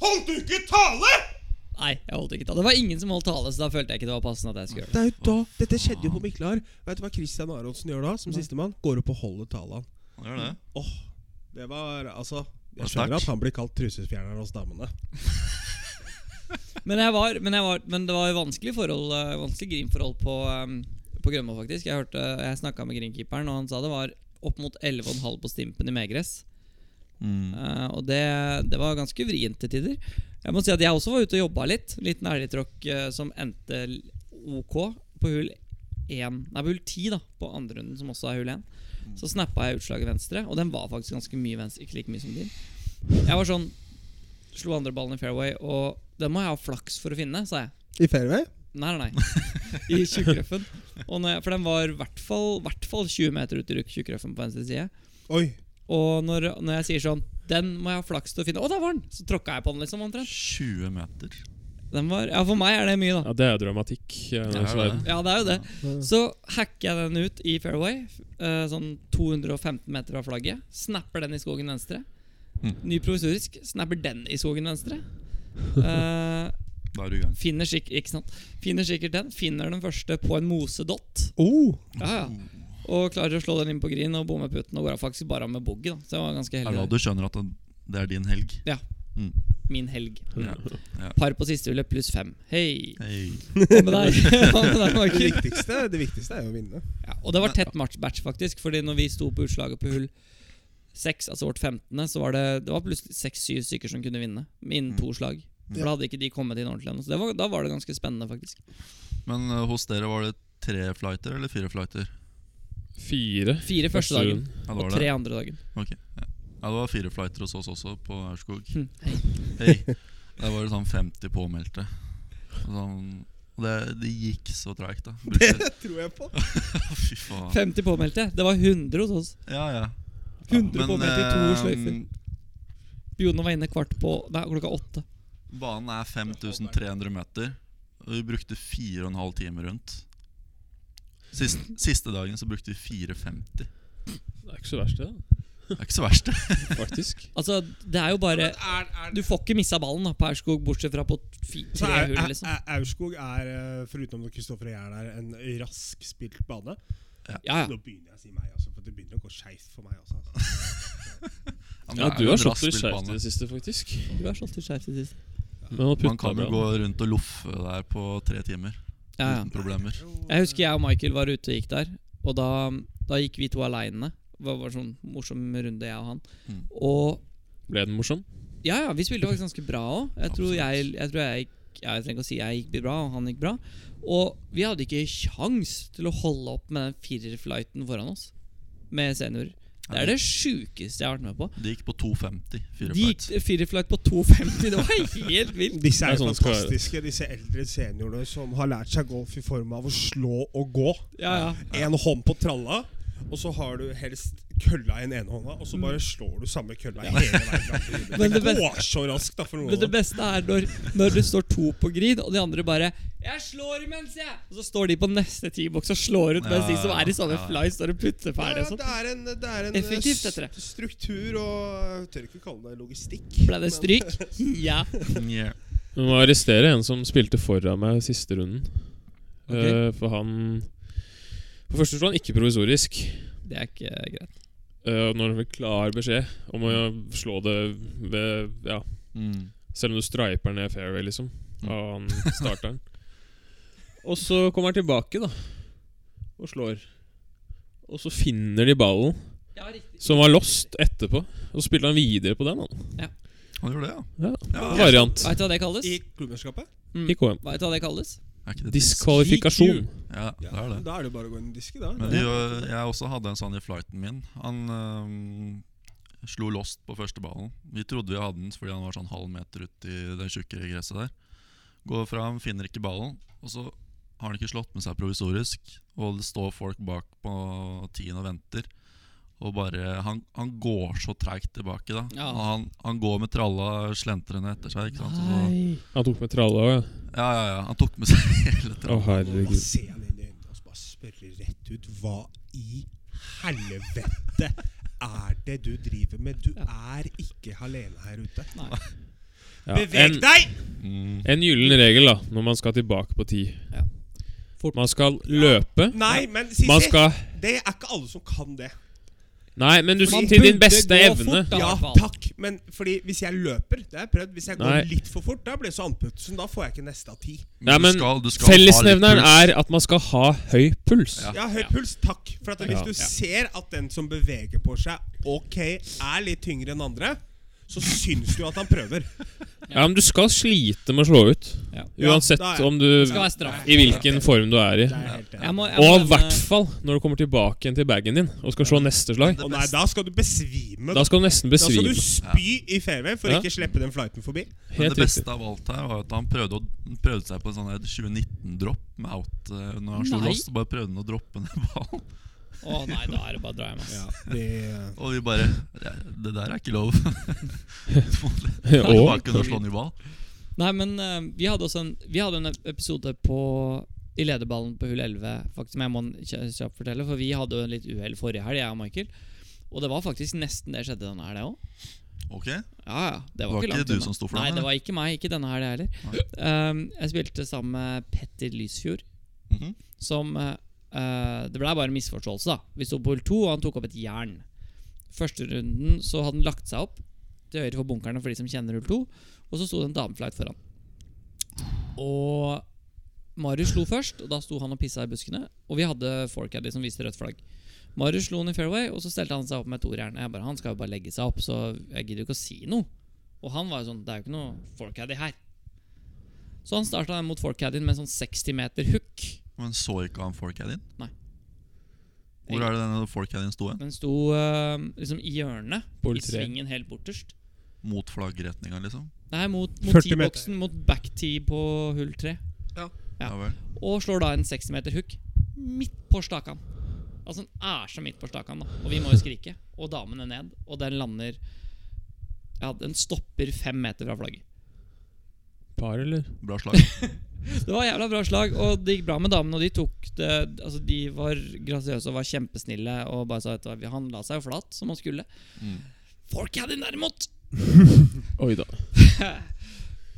[SPEAKER 5] Holdt du ikke tale?!
[SPEAKER 2] Nei, jeg holdt ikke tale. Det var ingen som holdt tale, så da følte jeg ikke det var passende at jeg skulle gjøre det.
[SPEAKER 5] Det er jo da, Dette skjedde jo på Miklar. Vet du hva Christian Aronsen gjør da, som sistemann? Går opp og holder talen.
[SPEAKER 3] Han gjør det.
[SPEAKER 5] Åh, det var altså
[SPEAKER 3] Hva
[SPEAKER 5] Jeg skjønner
[SPEAKER 3] takk?
[SPEAKER 5] at han blir kalt trusefjerneren hos damene.
[SPEAKER 2] Men, jeg var, men, jeg var, men det var jo vanskelig forhold eh, Vanskelig grinforhold på, um, på Grønmo, faktisk. Jeg, hørte, jeg snakka med greenkeeperen, og han sa det var opp mot 11,5 på stimpen i medgress.
[SPEAKER 3] Mm.
[SPEAKER 2] Eh, og det, det var ganske vrient til tider. Jeg må si at jeg også var ute og jobba litt. Liten elgtråkk eh, som endte l- OK på hull 1 Nei, på hull 10, da, på andre runden, som også er hull 1. Så snappa jeg utslaget venstre, og den var faktisk ganske mye venstre. Ikke like mye som din. Jeg var sånn Slo andre ballen i fairway, og den må jeg ha flaks for å finne, sa jeg.
[SPEAKER 5] I fairway?
[SPEAKER 2] Nei, nei, nei. I tjukkrøffen. Og når jeg- For den var i hvert fall, hvert fall 20 meter ut i ruk- tjukkrøffen på venstre side.
[SPEAKER 5] Oi.
[SPEAKER 2] Og når, når jeg sier sånn Den må jeg ha flaks til å finne Å, der var den! Så tråkka jeg på den, liksom. omtrent
[SPEAKER 3] 20 meter.
[SPEAKER 2] den var, Ja, for meg er det mye, da.
[SPEAKER 4] Ja, det er dramatikk. eh, altså. i
[SPEAKER 3] Det er
[SPEAKER 4] denne verden.
[SPEAKER 3] det.
[SPEAKER 2] Ja, det er jo det. Så hacker jeg den ut i fairway, eh, sånn 215 meter fra flagget. Snapper den i skogen venstre. Ny provisorisk. Snapper den i skogen venstre. Eh,
[SPEAKER 3] Da er du i gang.
[SPEAKER 2] finner, sikk- ikke sant? finner sikkert den. Finner den første på en mosedott.
[SPEAKER 5] Oh.
[SPEAKER 2] Ja, ja. Og klarer å slå den inn på green og bomme putten og går av faktisk bare av med boogie. da Så jeg var ganske
[SPEAKER 3] Er det da
[SPEAKER 2] heldig.
[SPEAKER 3] du skjønner at det det er din helg?
[SPEAKER 2] Ja.
[SPEAKER 3] Mm.
[SPEAKER 2] min helg.
[SPEAKER 3] Ja.
[SPEAKER 2] Par på siste hullet pluss fem. Hei!
[SPEAKER 3] Hei.
[SPEAKER 2] Hva med deg? Hva med deg,
[SPEAKER 5] Det
[SPEAKER 2] Markus?
[SPEAKER 5] viktigste, det viktigste er jo å vinne.
[SPEAKER 2] Ja, og det var tett match, match faktisk, fordi når vi sto på utslaget på hull 6, altså vårt 15., så var det, det var plutselig 6-7 stykker som kunne vinne
[SPEAKER 3] Mm.
[SPEAKER 2] innen to slag. For
[SPEAKER 5] Ja.
[SPEAKER 2] Da hadde ikke de kommet inn ordentlig ennå. Så det var, da var det ganske spennende, faktisk.
[SPEAKER 3] Men eh, hos dere var det tre flighter eller fire flighter?
[SPEAKER 4] Fire.
[SPEAKER 2] Fire første dagen
[SPEAKER 3] Ja, det
[SPEAKER 2] og
[SPEAKER 3] var
[SPEAKER 2] tre
[SPEAKER 3] det.
[SPEAKER 2] andre dagen.
[SPEAKER 3] Ok, ja. ja, det var fire flighter hos oss også, på Aurskog.
[SPEAKER 2] Hm, hei.
[SPEAKER 3] Hei. Der var det sånn 50 påmeldte. Og Sånn, og det, det gikk så treigt, da. Brukte,
[SPEAKER 5] tror jeg på.
[SPEAKER 3] fy faen.
[SPEAKER 2] 50 påmeldte. Det var 100 hos oss.
[SPEAKER 3] Ja, ja.
[SPEAKER 2] 100 påmeldte i to
[SPEAKER 3] eh,
[SPEAKER 2] sløyfer. Bjonen var inne kvart på Nei, klokka åtte.
[SPEAKER 3] Banen er 5300 meter, og vi brukte 4,5 timer rundt. Siste, siste dagen så brukte vi 4,50.
[SPEAKER 4] Det er ikke så verst, det.
[SPEAKER 3] Det er ikke så verst, det.
[SPEAKER 4] da, Faktisk.
[SPEAKER 2] Altså, det er jo bare Du får ikke missa ballen da på Aurskog, bortsett fra på fi-
[SPEAKER 5] Så
[SPEAKER 2] tre
[SPEAKER 5] er,
[SPEAKER 2] hull,
[SPEAKER 5] er,
[SPEAKER 2] liksom.
[SPEAKER 5] er, Aurskog er, eh, foruten at Kristoffer og jeg er der, en rask spilt bane.
[SPEAKER 2] Ja, ja.
[SPEAKER 5] Nå begynner jeg å si meg, altså, for det begynner å gå skeivt for meg. Altså.
[SPEAKER 3] Ja, men
[SPEAKER 4] Ja,
[SPEAKER 3] det er
[SPEAKER 4] du
[SPEAKER 3] jo
[SPEAKER 4] har
[SPEAKER 3] en
[SPEAKER 4] slått
[SPEAKER 3] rask
[SPEAKER 4] deg skjevt i
[SPEAKER 3] spillbane.
[SPEAKER 4] det siste, faktisk.
[SPEAKER 2] Du er så til skeiv til sist.
[SPEAKER 4] Men å
[SPEAKER 3] Man
[SPEAKER 4] putte
[SPEAKER 3] kan
[SPEAKER 4] deg
[SPEAKER 3] jo
[SPEAKER 4] bra.
[SPEAKER 3] gå rundt og loffe der på tre timer
[SPEAKER 2] Ja, ja.
[SPEAKER 3] uten problemer.
[SPEAKER 2] Jeg husker jeg og Michael var ute og gikk der, og da, da gikk vi to aleine. Det var bare sånn morsom runde, jeg og han.
[SPEAKER 3] Mm.
[SPEAKER 2] Og
[SPEAKER 4] Ble den morsom?
[SPEAKER 2] ja, ja, vi spilte faktisk ganske bra òg. Jeg tror
[SPEAKER 3] Absolutt.
[SPEAKER 2] jeg, jeg tror jeg gikk ja, Jeg trenger ikke å si jeg gikk bra, og han gikk bra. Og vi hadde ikke kjangs til å holde opp med den firerflighten foran oss med seniorer. Det er det sjukeste jeg har vært med på.
[SPEAKER 3] Det gikk på 2,50. Fire
[SPEAKER 2] De
[SPEAKER 3] flights.
[SPEAKER 2] gikk firerflight på 2,50. Det var helt vilt.
[SPEAKER 5] Disse er
[SPEAKER 4] Det er
[SPEAKER 5] jo
[SPEAKER 4] sånn skal være.
[SPEAKER 5] fantastiske, disse eldre seniorene som har lært seg golf i form av å slå og gå.
[SPEAKER 2] Ja, ja.
[SPEAKER 5] En hånd på tralla, og så har du helst kølla i den ene hånda, og så bare slår du samme kølla hele veien. fram til
[SPEAKER 2] Men
[SPEAKER 5] hodet.
[SPEAKER 2] det
[SPEAKER 5] Det
[SPEAKER 2] beste-
[SPEAKER 5] går så raskt, da, for
[SPEAKER 2] Men det
[SPEAKER 5] noen.
[SPEAKER 2] beste er når, når det står to på grid, og de andre bare 'Jeg slår imens, jeg!' Og så står de på neste teambox og slår ut, mens
[SPEAKER 3] Ja,
[SPEAKER 2] de som er i sånne
[SPEAKER 3] ja.
[SPEAKER 2] fly, står og putter ferdig
[SPEAKER 5] Ja,
[SPEAKER 2] og sånn.
[SPEAKER 5] det er en, det er en
[SPEAKER 2] Effektivt,
[SPEAKER 5] eh,
[SPEAKER 2] heter det.
[SPEAKER 5] struktur og Jeg tør ikke kalle det logistikk.
[SPEAKER 2] Ble det stryk? Ja.
[SPEAKER 3] Yeah.
[SPEAKER 4] Vi må arrestere en som spilte foran meg siste runden.
[SPEAKER 2] Ok.
[SPEAKER 4] Eh, for han For første var han ikke provisorisk.
[SPEAKER 2] Det er ikke greit.
[SPEAKER 4] Eh, og når han fikk klar beskjed om å slå det ved Ja,
[SPEAKER 3] Mm.
[SPEAKER 4] selv om du striper ned fairway, liksom. Og han starter den. Og så kommer han tilbake, da. Og slår. Og så finner de ballen,
[SPEAKER 2] Ja, riktig.
[SPEAKER 4] som var lost etterpå. Og så spiller han videre på den. Han.
[SPEAKER 3] Han gjorde det, ja.
[SPEAKER 4] Ja. Variant.
[SPEAKER 2] Veit du hva det kalles?
[SPEAKER 5] I klubbmesterskapet?
[SPEAKER 4] I KM.
[SPEAKER 2] Vet du hva det kalles?
[SPEAKER 3] Er ikke det
[SPEAKER 4] Diskvalifikasjon.
[SPEAKER 3] Ja, det er det.
[SPEAKER 5] Da er det bare å gå inn i disken, da.
[SPEAKER 3] Men vi, øh, jeg også hadde en sånn i flighten min. Han øhm, slo lost på første ballen. Vi trodde vi hadde den fordi han var sånn halv meter ut i det tjukkere gresset der. Går fram, finner ikke ballen, og så har han ikke slått med seg provisorisk. Og det står folk bak på tien og venter. Og bare Han, han går så treigt tilbake, da.
[SPEAKER 2] Ja.
[SPEAKER 3] Og Han, han går med tralla slentrende etter seg. Ikke sant? Så,
[SPEAKER 4] Han tok med tralla òg, ja.
[SPEAKER 3] ja, ja, ja. Han tok med seg hele
[SPEAKER 4] Å,
[SPEAKER 3] tralla.
[SPEAKER 5] Nå
[SPEAKER 4] herregud.
[SPEAKER 5] bare ser han inn i øynene og så bare spørre rett ut Hva i helvete er det du driver med? Du er ikke alene her ute.
[SPEAKER 2] Nei.
[SPEAKER 4] Ja.
[SPEAKER 5] Beveg
[SPEAKER 4] en-
[SPEAKER 5] deg!
[SPEAKER 3] Mm.
[SPEAKER 4] En gyllen regel da når man skal tilbake på ti.
[SPEAKER 2] Ja. Fort.
[SPEAKER 4] Man skal løpe.
[SPEAKER 5] Nei, men
[SPEAKER 4] Man
[SPEAKER 5] Sisi,
[SPEAKER 4] skal
[SPEAKER 5] det er ikke alle som kan det.
[SPEAKER 4] Nei, men du
[SPEAKER 2] Man
[SPEAKER 4] til din
[SPEAKER 2] burde
[SPEAKER 4] beste
[SPEAKER 2] gå
[SPEAKER 4] evne.
[SPEAKER 2] fort, da. Ja, i
[SPEAKER 5] Ja,
[SPEAKER 2] hvert fall.
[SPEAKER 5] takk, men fordi hvis jeg løper Det har jeg prøvd. Hvis jeg går
[SPEAKER 4] Nei.
[SPEAKER 5] litt for fort, da blir jeg så andpusten. Da får jeg ikke neste av ti.
[SPEAKER 4] Nei, men
[SPEAKER 3] du skal, du skal ha litt
[SPEAKER 4] Fellesnevneren
[SPEAKER 3] puls.
[SPEAKER 4] er at man skal ha høy puls.
[SPEAKER 3] Ja.
[SPEAKER 5] Ja, høy puls, takk. For at hvis
[SPEAKER 4] Ja.
[SPEAKER 5] du
[SPEAKER 4] Ja.
[SPEAKER 5] ser at den som beveger på seg, ok, er litt tyngre enn andre, så syns du at han prøver.
[SPEAKER 4] Ja, Men du skal slite med å slå ut.
[SPEAKER 2] Ja.
[SPEAKER 4] Uansett
[SPEAKER 5] Ja, da er jeg-
[SPEAKER 4] om du
[SPEAKER 2] Skal være eh, straff.
[SPEAKER 4] I hvilken form du er i.
[SPEAKER 5] Det er jeg helt enig. i.
[SPEAKER 2] Jeg må, jeg
[SPEAKER 4] Og i
[SPEAKER 2] må
[SPEAKER 4] hvert
[SPEAKER 2] nevne-
[SPEAKER 4] fall når du kommer tilbake igjen til bagen din og skal slå neste slag.
[SPEAKER 5] Å nei, da skal du besvime.
[SPEAKER 4] Da skal du nesten
[SPEAKER 5] Da skal
[SPEAKER 4] besvime.
[SPEAKER 5] du spy i fairway for
[SPEAKER 4] Ja.
[SPEAKER 5] ikke slippe den flighten forbi.
[SPEAKER 3] Men
[SPEAKER 4] Helt
[SPEAKER 3] det beste
[SPEAKER 4] riktig.
[SPEAKER 3] av alt her var at han prøvde, å, prøvde seg på en sånn her 2019-dropp med out eh, når han slo
[SPEAKER 2] Nei.
[SPEAKER 3] loss. Bare prøvde han å droppe ned ballen.
[SPEAKER 2] Å nei, da er det bare å dra hjem, ass.
[SPEAKER 5] eh,
[SPEAKER 3] Og vi bare Det, det der er ikke lov.
[SPEAKER 4] Og
[SPEAKER 3] Bare kunne slå ny ball.
[SPEAKER 2] Nei, men eh, vi hadde også en Vi hadde en episode på i lederballen på hull 11, faktisk, men jeg må kj- kjapt fortelle, for vi hadde jo en litt uhell forrige helg, jeg og Michael. Og det var faktisk nesten det skjedde denne helga òg.
[SPEAKER 3] Ok,
[SPEAKER 2] Ja, ja. Det
[SPEAKER 3] var
[SPEAKER 2] var,
[SPEAKER 3] ikke
[SPEAKER 2] langt
[SPEAKER 3] du
[SPEAKER 2] unna.
[SPEAKER 3] som sto for
[SPEAKER 2] Nei,
[SPEAKER 3] den,
[SPEAKER 2] det var ikke meg. Ikke denne helga heller. Um, jeg spilte sammen med Petter Lysfjord,
[SPEAKER 3] Mhm.
[SPEAKER 2] som eh, eh, Det ble bare en misforståelse, da. Vi sto på hull to, og han tok opp et jern. Første runden så hadde han lagt seg opp til høyre for bunkerne, for de som kjenner hull to. Og så sto det en damefleit foran. Og Marius slo først, og da sto han og pissa i buskene. Og vi hadde forecaddy som viste rødt flagg. Marius slo han i fairway, og så stelte han seg opp med toerjern. Jeg bare, Han skal jo bare legge seg opp, så jeg gidder jo ikke å si noe. Og han var jo sånn Det er jo ikke noe forecaddy her. Så han starta mot forecaddyen med en sånn 60 meter hook.
[SPEAKER 3] Men så ikke han forcaddien?
[SPEAKER 2] Nei.
[SPEAKER 3] Hvor er det denne forcaddien sto hen?
[SPEAKER 2] Den sto eh, liksom i hjørnet,
[SPEAKER 4] Pol
[SPEAKER 2] i
[SPEAKER 4] tre.
[SPEAKER 2] svingen helt borterst.
[SPEAKER 3] Mot flaggretninga, liksom?
[SPEAKER 2] Nei, mot, mot
[SPEAKER 1] 40 meter.
[SPEAKER 2] T-boksen, mot back tee på hull tre. Ja.
[SPEAKER 3] Ja, vel.
[SPEAKER 2] Og slår da en 60 meter hook midt på stakan. Altså den er så midt på stakan, da. Og vi må jo skrike. Og damene ned. Og den lander Ja, den stopper fem meter fra flagget.
[SPEAKER 4] Par, eller?
[SPEAKER 3] Bra slag.
[SPEAKER 2] Det var jævla bra slag, og det gikk bra med damene. Og de tok det Altså de var grasiøse og var kjempesnille og bare sa at han la seg jo flat, som han skulle.
[SPEAKER 3] Mm.
[SPEAKER 2] Forcaddien derimot
[SPEAKER 4] Oi da.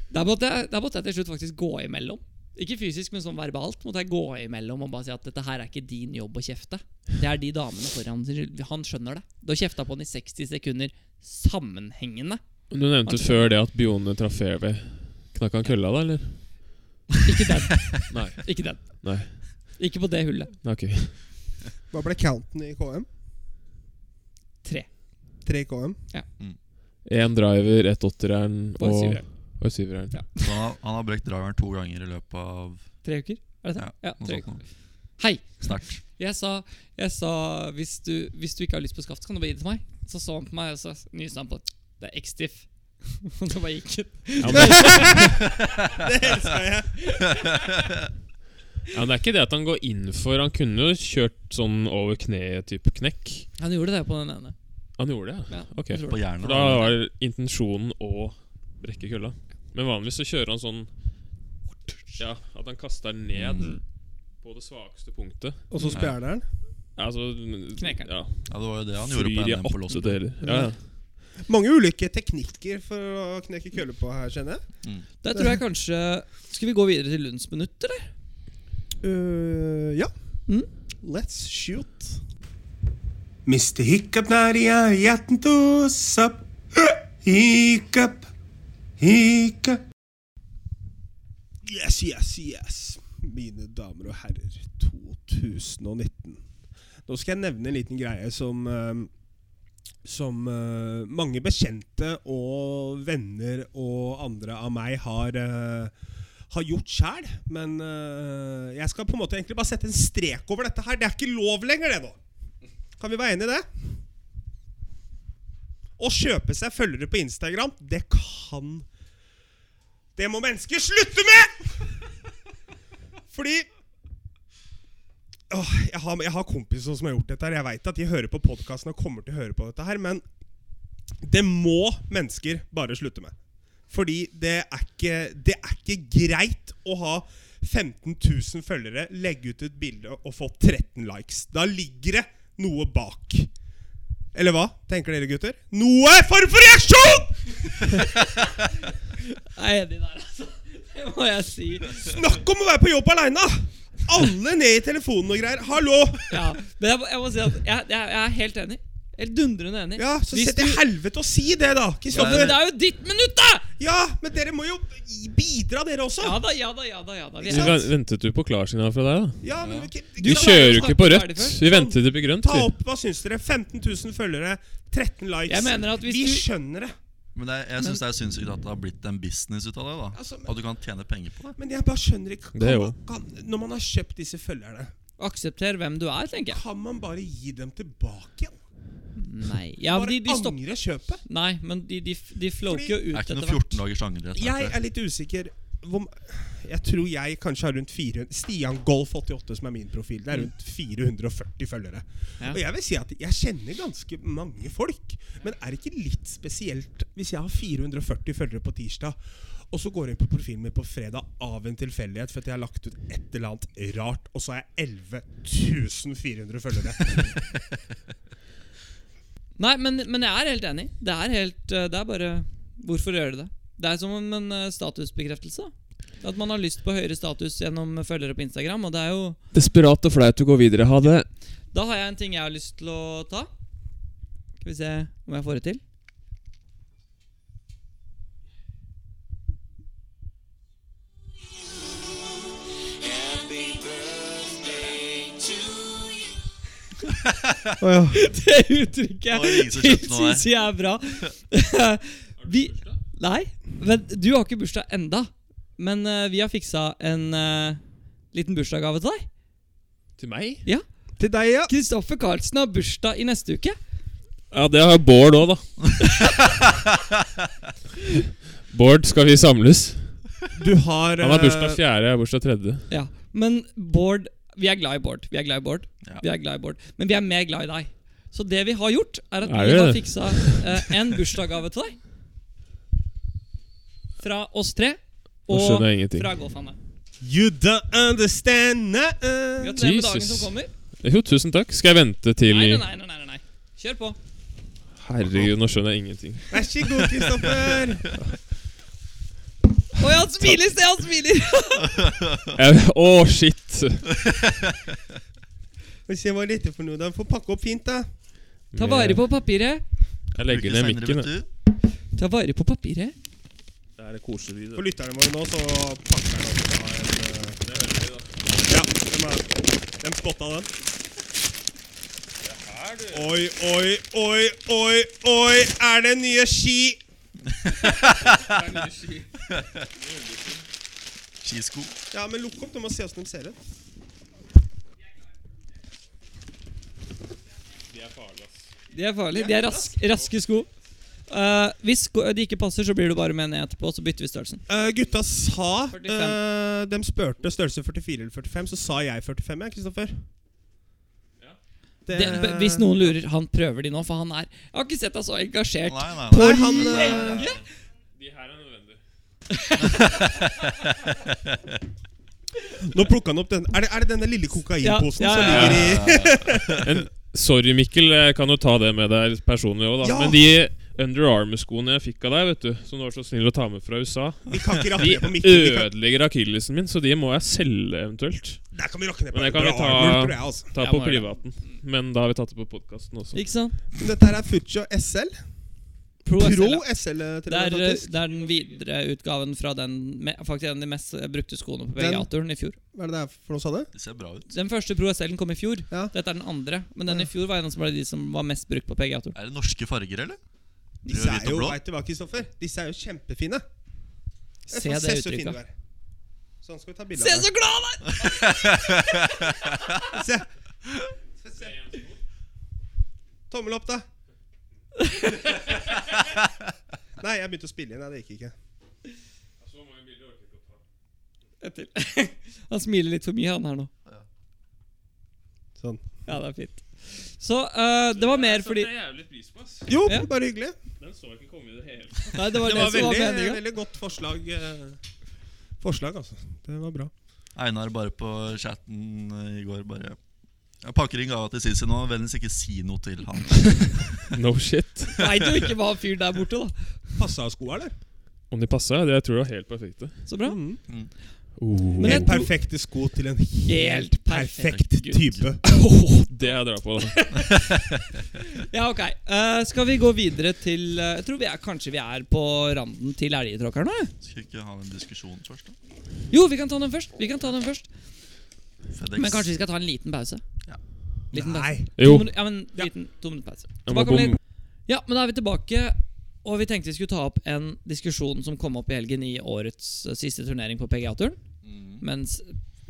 [SPEAKER 2] Der måtte, jeg, der måtte jeg til slutt faktisk gå imellom. Ikke fysisk, men sånn verbalt måtte jeg gå imellom og bare si at dette her er ikke din jobb å kjefte. Det er de damene foran sin skyld. Han skjønner det. Du har kjefta på han i 60 sekunder sammenhengende.
[SPEAKER 4] Men Du nevnte før det at Bione traff fairway. Knakk han kølla da, eller?
[SPEAKER 2] Ikke den.
[SPEAKER 4] Nei.
[SPEAKER 2] Ikke den.
[SPEAKER 4] Nei.
[SPEAKER 2] Ikke på det hullet.
[SPEAKER 4] Nei, ok.
[SPEAKER 5] Hva ble counten i KM?
[SPEAKER 2] Tre.
[SPEAKER 5] 3 KM?
[SPEAKER 4] Én driver, ett åtteren
[SPEAKER 2] På
[SPEAKER 4] og
[SPEAKER 2] syveren.
[SPEAKER 4] og syveren.
[SPEAKER 2] Ja.
[SPEAKER 3] Så han, har- han har brekt driveren to ganger i løpet av
[SPEAKER 2] Tre uker? Er det det?
[SPEAKER 3] Ja,
[SPEAKER 2] Ja,
[SPEAKER 3] noe
[SPEAKER 2] tre
[SPEAKER 3] sånt
[SPEAKER 2] uker.
[SPEAKER 3] noe.
[SPEAKER 2] Hei!
[SPEAKER 3] Sterkt.
[SPEAKER 2] Jeg sa, jeg sa hvis, du, hvis du ikke har lyst på skaft, så kan du bare gi det til meg. Så så han på meg, og så nyste han på Det er X-Diff. Og så bare gikk han.
[SPEAKER 4] Ja, men, det-
[SPEAKER 5] Det elska jeg!
[SPEAKER 4] ja, men det er ikke det at han går inn for Han kunne jo kjørt sånn over kneet-type knekk.
[SPEAKER 2] Han gjorde det på den ene.
[SPEAKER 4] Han gjorde det, ja?
[SPEAKER 2] Ja,
[SPEAKER 4] Ok.
[SPEAKER 2] jeg tror det.
[SPEAKER 3] På
[SPEAKER 4] For
[SPEAKER 3] hjernen.
[SPEAKER 4] da var det intensjonen å brekke kølla. Men vanligvis så kjører han sånn Ja, at han kaster den ned
[SPEAKER 3] Mm.
[SPEAKER 4] på det svakeste punktet.
[SPEAKER 1] Og så spjerneren.
[SPEAKER 4] Ja, Altså
[SPEAKER 2] Knekker den.
[SPEAKER 4] Ja,
[SPEAKER 3] Ja, det var jo det han gjorde
[SPEAKER 4] flyr
[SPEAKER 3] på
[SPEAKER 4] i
[SPEAKER 3] NM på
[SPEAKER 4] åtte
[SPEAKER 3] Losby.
[SPEAKER 4] deler. Ja, ja.
[SPEAKER 5] Mange ulike teknikker for å knekke køller på her, kjenner jeg.
[SPEAKER 2] Der tror jeg kanskje Skal vi gå videre til Lunds minutt, eller?
[SPEAKER 5] Uh, ja.
[SPEAKER 2] Mm.
[SPEAKER 5] Let's shoot.
[SPEAKER 1] Mr. Hiccup Naria, hjerten tos up. Hiccup, hiccup.
[SPEAKER 5] Yes, yes, yes. Mine damer og herrer, 2019. Nå skal jeg nevne en liten greie som eh, som eh, mange bekjente og venner og andre av meg har, eh, har gjort sjæl. Men eh, jeg skal på en måte egentlig bare sette en strek over dette her. Det er ikke lov lenger, det nå. Kan vi være enig i det? Å kjøpe seg følgere på Instagram, det kan Det må mennesker slutte med! Fordi Åh, jeg, har, jeg har kompiser som har gjort dette. her Jeg veit at de hører på podkasten og kommer til å høre på dette her, men det må mennesker bare slutte med. Fordi det er ikke, det er ikke greit å ha 15 000 følgere, legge ut et bilde og få 13 likes. Da ligger det noe bak. Eller hva? Tenker dere, gutter? Noe form for reaksjon!
[SPEAKER 2] Jeg er enig der, altså. Det må jeg si.
[SPEAKER 5] Snakk om å være på jobb aleine! Alle ned i telefonen og greier. Hallo!
[SPEAKER 2] Ja, men jeg, må- jeg må si at jeg, jeg, jeg er helt enig. Helt dundrende enig.
[SPEAKER 5] Ja, så
[SPEAKER 2] Hvis
[SPEAKER 5] sett i
[SPEAKER 2] du-
[SPEAKER 5] helvete å si det, da!
[SPEAKER 2] Men
[SPEAKER 5] Kristoffer.
[SPEAKER 2] det er jo ditt minutt, da!
[SPEAKER 5] Ja, men dere må jo bidra, dere også.
[SPEAKER 2] Ja da, ja da, ja da. ja da Vi
[SPEAKER 4] Vi
[SPEAKER 2] er-
[SPEAKER 4] ven- ventet jo på klarsignal fra deg, da.
[SPEAKER 5] Ja, men vi kan-
[SPEAKER 2] Ja,
[SPEAKER 4] Vi
[SPEAKER 5] ta-
[SPEAKER 2] kjører-
[SPEAKER 4] kjører jo ikke på
[SPEAKER 2] snakket
[SPEAKER 4] rødt.
[SPEAKER 2] ferdig først.
[SPEAKER 4] Vi venter til det blir grønt.
[SPEAKER 5] Ta
[SPEAKER 4] vi.
[SPEAKER 5] opp, hva syns dere? 15 000 følgere, 13 likes.
[SPEAKER 2] Jeg mener at hvis
[SPEAKER 5] vi
[SPEAKER 2] du-
[SPEAKER 5] skjønner det.
[SPEAKER 3] Men det, er- jeg syns det er sinnssykt at det har blitt en business ut av det. da
[SPEAKER 5] Altså, men-
[SPEAKER 3] At du kan tjene penger på det.
[SPEAKER 5] Men jeg bare skjønner ikke kan
[SPEAKER 4] Det er jo-
[SPEAKER 5] man, kan, Når man har kjøpt disse følgerne,
[SPEAKER 2] Aksepter hvem du er, tenker jeg.
[SPEAKER 5] kan man bare gi dem tilbake igjen?
[SPEAKER 2] Nei. Ja,
[SPEAKER 5] Bare
[SPEAKER 2] men de, de stopper
[SPEAKER 5] angre kjøpet?
[SPEAKER 2] Nei, men de, de, de floker jo ut
[SPEAKER 3] Det er ikke
[SPEAKER 2] etter
[SPEAKER 3] noe
[SPEAKER 2] hvert.
[SPEAKER 3] 14 dagers angrerett.
[SPEAKER 5] Jeg
[SPEAKER 3] vet
[SPEAKER 5] er litt usikker. Hvor, jeg tror jeg kanskje har rundt 400 Stian Golf 88, som er min profil. Det er rundt 440 følgere.
[SPEAKER 2] Ja.
[SPEAKER 5] Og jeg vil si at jeg kjenner ganske mange folk. Men er det ikke litt spesielt hvis jeg har 440 følgere på tirsdag, og så går jeg inn på profilen min på fredag av en tilfeldighet fordi jeg har lagt ut et eller annet rart, og så har jeg 11 400 følgere?
[SPEAKER 2] Nei, men, men jeg er helt enig. Det er helt eh, Det er bare Hvorfor gjør du det? Det er som en eh, statusbekreftelse. At man har lyst på høyere status gjennom følgere på Instagram. Og det er jo
[SPEAKER 4] Desperat og flaut å gå videre. Ha det.
[SPEAKER 2] Da har jeg en ting jeg har lyst til å ta. Skal vi se om jeg får det til. Det uttrykket
[SPEAKER 3] Det var ingen som skjønte noe der.
[SPEAKER 2] syns jeg er bra. Vi, nei, men du har ikke bursdag enda Men eh, vi har fiksa en eh, liten bursdagsgave til deg.
[SPEAKER 4] Til meg?
[SPEAKER 5] Til deg, ja.
[SPEAKER 2] Kristoffer Carlsen har bursdag i neste uke.
[SPEAKER 4] Ja, det har Bård òg, da. Bård, skal vi samles?
[SPEAKER 5] Du har
[SPEAKER 4] Han har
[SPEAKER 5] eh,
[SPEAKER 4] bursdag fjerde, jeg har bursdag tredje.
[SPEAKER 2] Ja. Men Bård Vi er glad i Bård. Vi er glad i Bård.
[SPEAKER 3] Ja.
[SPEAKER 2] Vi er glad i Bård. Men vi er mer glad i deg. Så det vi har gjort, er at
[SPEAKER 4] Er
[SPEAKER 2] vi
[SPEAKER 4] det
[SPEAKER 2] har
[SPEAKER 4] det?
[SPEAKER 2] fiksa eh, en bursdagsgave til deg. Fra oss tre.
[SPEAKER 4] Nå
[SPEAKER 2] Og
[SPEAKER 4] skjønner jeg ingenting.
[SPEAKER 2] fra Golfane.
[SPEAKER 5] You don't understand eh. nuh-uh.
[SPEAKER 2] Gratulerer med dagen
[SPEAKER 4] Jesus.
[SPEAKER 2] som kommer.
[SPEAKER 4] Jo, tusen takk. Skal jeg vente til
[SPEAKER 2] Nei, nei, nei. nei, nei, nei. Kjør på.
[SPEAKER 4] Herregud, nå skjønner jeg ingenting.
[SPEAKER 5] Vær så god, Kristoffer.
[SPEAKER 2] Oi, han smiler! Se, han smiler!
[SPEAKER 4] Jeg, å, shit!
[SPEAKER 5] Få se hva dette for noe. Da får pakke opp fint, da.
[SPEAKER 2] Ta vare på papiret.
[SPEAKER 4] Jeg legger ned mikken. jeg.
[SPEAKER 2] Ta vare på papiret.
[SPEAKER 5] For lytterne våre nå, så pakker han opp da en eh, Ja, de, er, de spotta den. Oi, oi, oi, oi, oi! Er det nye ski?
[SPEAKER 3] Skisko.
[SPEAKER 5] Ja, men lukk opp. Du må se åssen de ser ut.
[SPEAKER 2] De er farlige. De er rask, raske sko. Eh, hvis sko de ikke passer, så blir du bare med ned etterpå, så bytter vi størrelsen.
[SPEAKER 5] Eh, gutta sa
[SPEAKER 2] 45.
[SPEAKER 5] eh, De spurte størrelse 44 eller 45, så sa jeg 45, jeg, Kristoffer. Det-
[SPEAKER 2] Det,
[SPEAKER 5] Eh,
[SPEAKER 2] b- hvis noen lurer, han prøver de nå, for han er Jeg har ikke sett deg så
[SPEAKER 3] Nei,
[SPEAKER 2] engasjert.
[SPEAKER 3] nei,
[SPEAKER 5] Nei,
[SPEAKER 3] nei.
[SPEAKER 5] han, eh,
[SPEAKER 2] Lenge?
[SPEAKER 4] De her er nødvendige.
[SPEAKER 5] nå plukka han opp den. Er det, er det denne lille kokainposen
[SPEAKER 2] Ja, ja, ja,
[SPEAKER 5] som ligger i
[SPEAKER 4] En, sorry, Mikkel. Jeg kan jo ta det med deg personlig òg, da.
[SPEAKER 5] Ja.
[SPEAKER 4] Men de Under Armour-skoene jeg fikk av deg, vet du, som du var så snill å ta med fra USA,
[SPEAKER 5] Vi kan ikke rakke
[SPEAKER 4] de
[SPEAKER 5] ned på midten. Vi kan,
[SPEAKER 4] ødelegger akillesen min, så de må jeg selge eventuelt.
[SPEAKER 5] der kan vi rakke ned på
[SPEAKER 4] Men det
[SPEAKER 5] Bra
[SPEAKER 4] kan vi ta-
[SPEAKER 5] armor, tror jeg, altså.
[SPEAKER 4] Ta
[SPEAKER 2] Jeg
[SPEAKER 4] på
[SPEAKER 2] må gjøre
[SPEAKER 4] privaten. Men da har vi tatt det på podkasten også.
[SPEAKER 2] Ikke sant?
[SPEAKER 5] Dette her er Fucho SL.
[SPEAKER 2] Pro,
[SPEAKER 5] Pro
[SPEAKER 2] SL, ja.
[SPEAKER 5] SL, til
[SPEAKER 2] Det
[SPEAKER 5] og
[SPEAKER 2] er,
[SPEAKER 5] med,
[SPEAKER 2] eh,
[SPEAKER 5] faktisk.
[SPEAKER 2] det er den videre utgaven fra den me- Faktisk en av de mest eh, brukte skoene på
[SPEAKER 5] Den-
[SPEAKER 2] PGA-turen i fjor.
[SPEAKER 5] Hva er det det er for noe, sa du?
[SPEAKER 3] Det ser bra ut.
[SPEAKER 2] Den første Pro SL-en kom i fjor.
[SPEAKER 5] Ja.
[SPEAKER 2] Dette er den andre. Men den i fjor var en av som ble de som var mest brukt på PGA-turen.
[SPEAKER 3] Er det norske farger, eller?
[SPEAKER 5] Disse
[SPEAKER 3] Rød, hvit
[SPEAKER 5] er
[SPEAKER 3] og
[SPEAKER 5] jo
[SPEAKER 3] blå.
[SPEAKER 5] vet du hva, Kristoffer? Disse er jo kjempefine. Jeg
[SPEAKER 2] Se
[SPEAKER 5] får
[SPEAKER 2] det
[SPEAKER 5] så fin du
[SPEAKER 2] uttrykket.
[SPEAKER 5] er. Sånn skal vi ta bilde
[SPEAKER 2] Se
[SPEAKER 5] av
[SPEAKER 2] så
[SPEAKER 5] deg.
[SPEAKER 2] glad han er!
[SPEAKER 5] Se. Få se. Tommel opp, da. Nei, jeg begynte å spille igjen. Nei, det gikk ikke.
[SPEAKER 2] Et til. Han smiler litt for mye, han her nå.
[SPEAKER 5] Sånn.
[SPEAKER 2] Ja, det er fint. Så eh, det var mer fordi
[SPEAKER 4] jævlig pris på, ass.
[SPEAKER 5] Jo,
[SPEAKER 2] Ja.
[SPEAKER 5] bare hyggelig.
[SPEAKER 4] Den så jeg ikke komme i det hele
[SPEAKER 2] Nei, det var
[SPEAKER 5] Det
[SPEAKER 2] det,
[SPEAKER 5] var
[SPEAKER 2] som var
[SPEAKER 5] veldig,
[SPEAKER 2] meninga.
[SPEAKER 5] veldig godt forslag. eh, Forslag, altså. Det var bra.
[SPEAKER 3] Einar bare på chatten eh, i går bare Jeg pakker inn gava til Sissy nå. Vennligst ikke si noe til han.
[SPEAKER 4] No shit.
[SPEAKER 2] Veit jo ikke hva fyren der borte, da.
[SPEAKER 5] Passa skoa, eller?
[SPEAKER 4] Om de passa? Det tror jeg var helt perfekte. Uh,
[SPEAKER 2] Så bra.
[SPEAKER 5] Mm.
[SPEAKER 2] Men jeg
[SPEAKER 5] Helt
[SPEAKER 2] tror-
[SPEAKER 5] perfekte sko til en helt perfekt
[SPEAKER 3] perfekt gutt.
[SPEAKER 5] type.
[SPEAKER 4] Det jeg drar på, da.
[SPEAKER 2] Ja, ok. Eh, skal vi gå videre til eh, Jeg tror vi er, kanskje vi er på randen til elgetråkkerne?
[SPEAKER 3] Skal vi ikke ha en diskusjon først, da?
[SPEAKER 2] Jo, vi kan ta den først. Vi kan ta den først
[SPEAKER 3] FedEx.
[SPEAKER 2] Men kanskje vi skal ta en liten pause?
[SPEAKER 3] Ja.
[SPEAKER 2] Liten pause.
[SPEAKER 5] Nei.
[SPEAKER 4] Jo.
[SPEAKER 2] To minu- ja, men liten to minutter pause.
[SPEAKER 4] Jeg må
[SPEAKER 2] Tilbake om
[SPEAKER 4] bomme.
[SPEAKER 2] litt. Ja, men da er vi tilbake. Og vi tenkte vi skulle ta opp en diskusjon som kom opp i helgen i årets eh, siste turnering på PGA-turen. Mens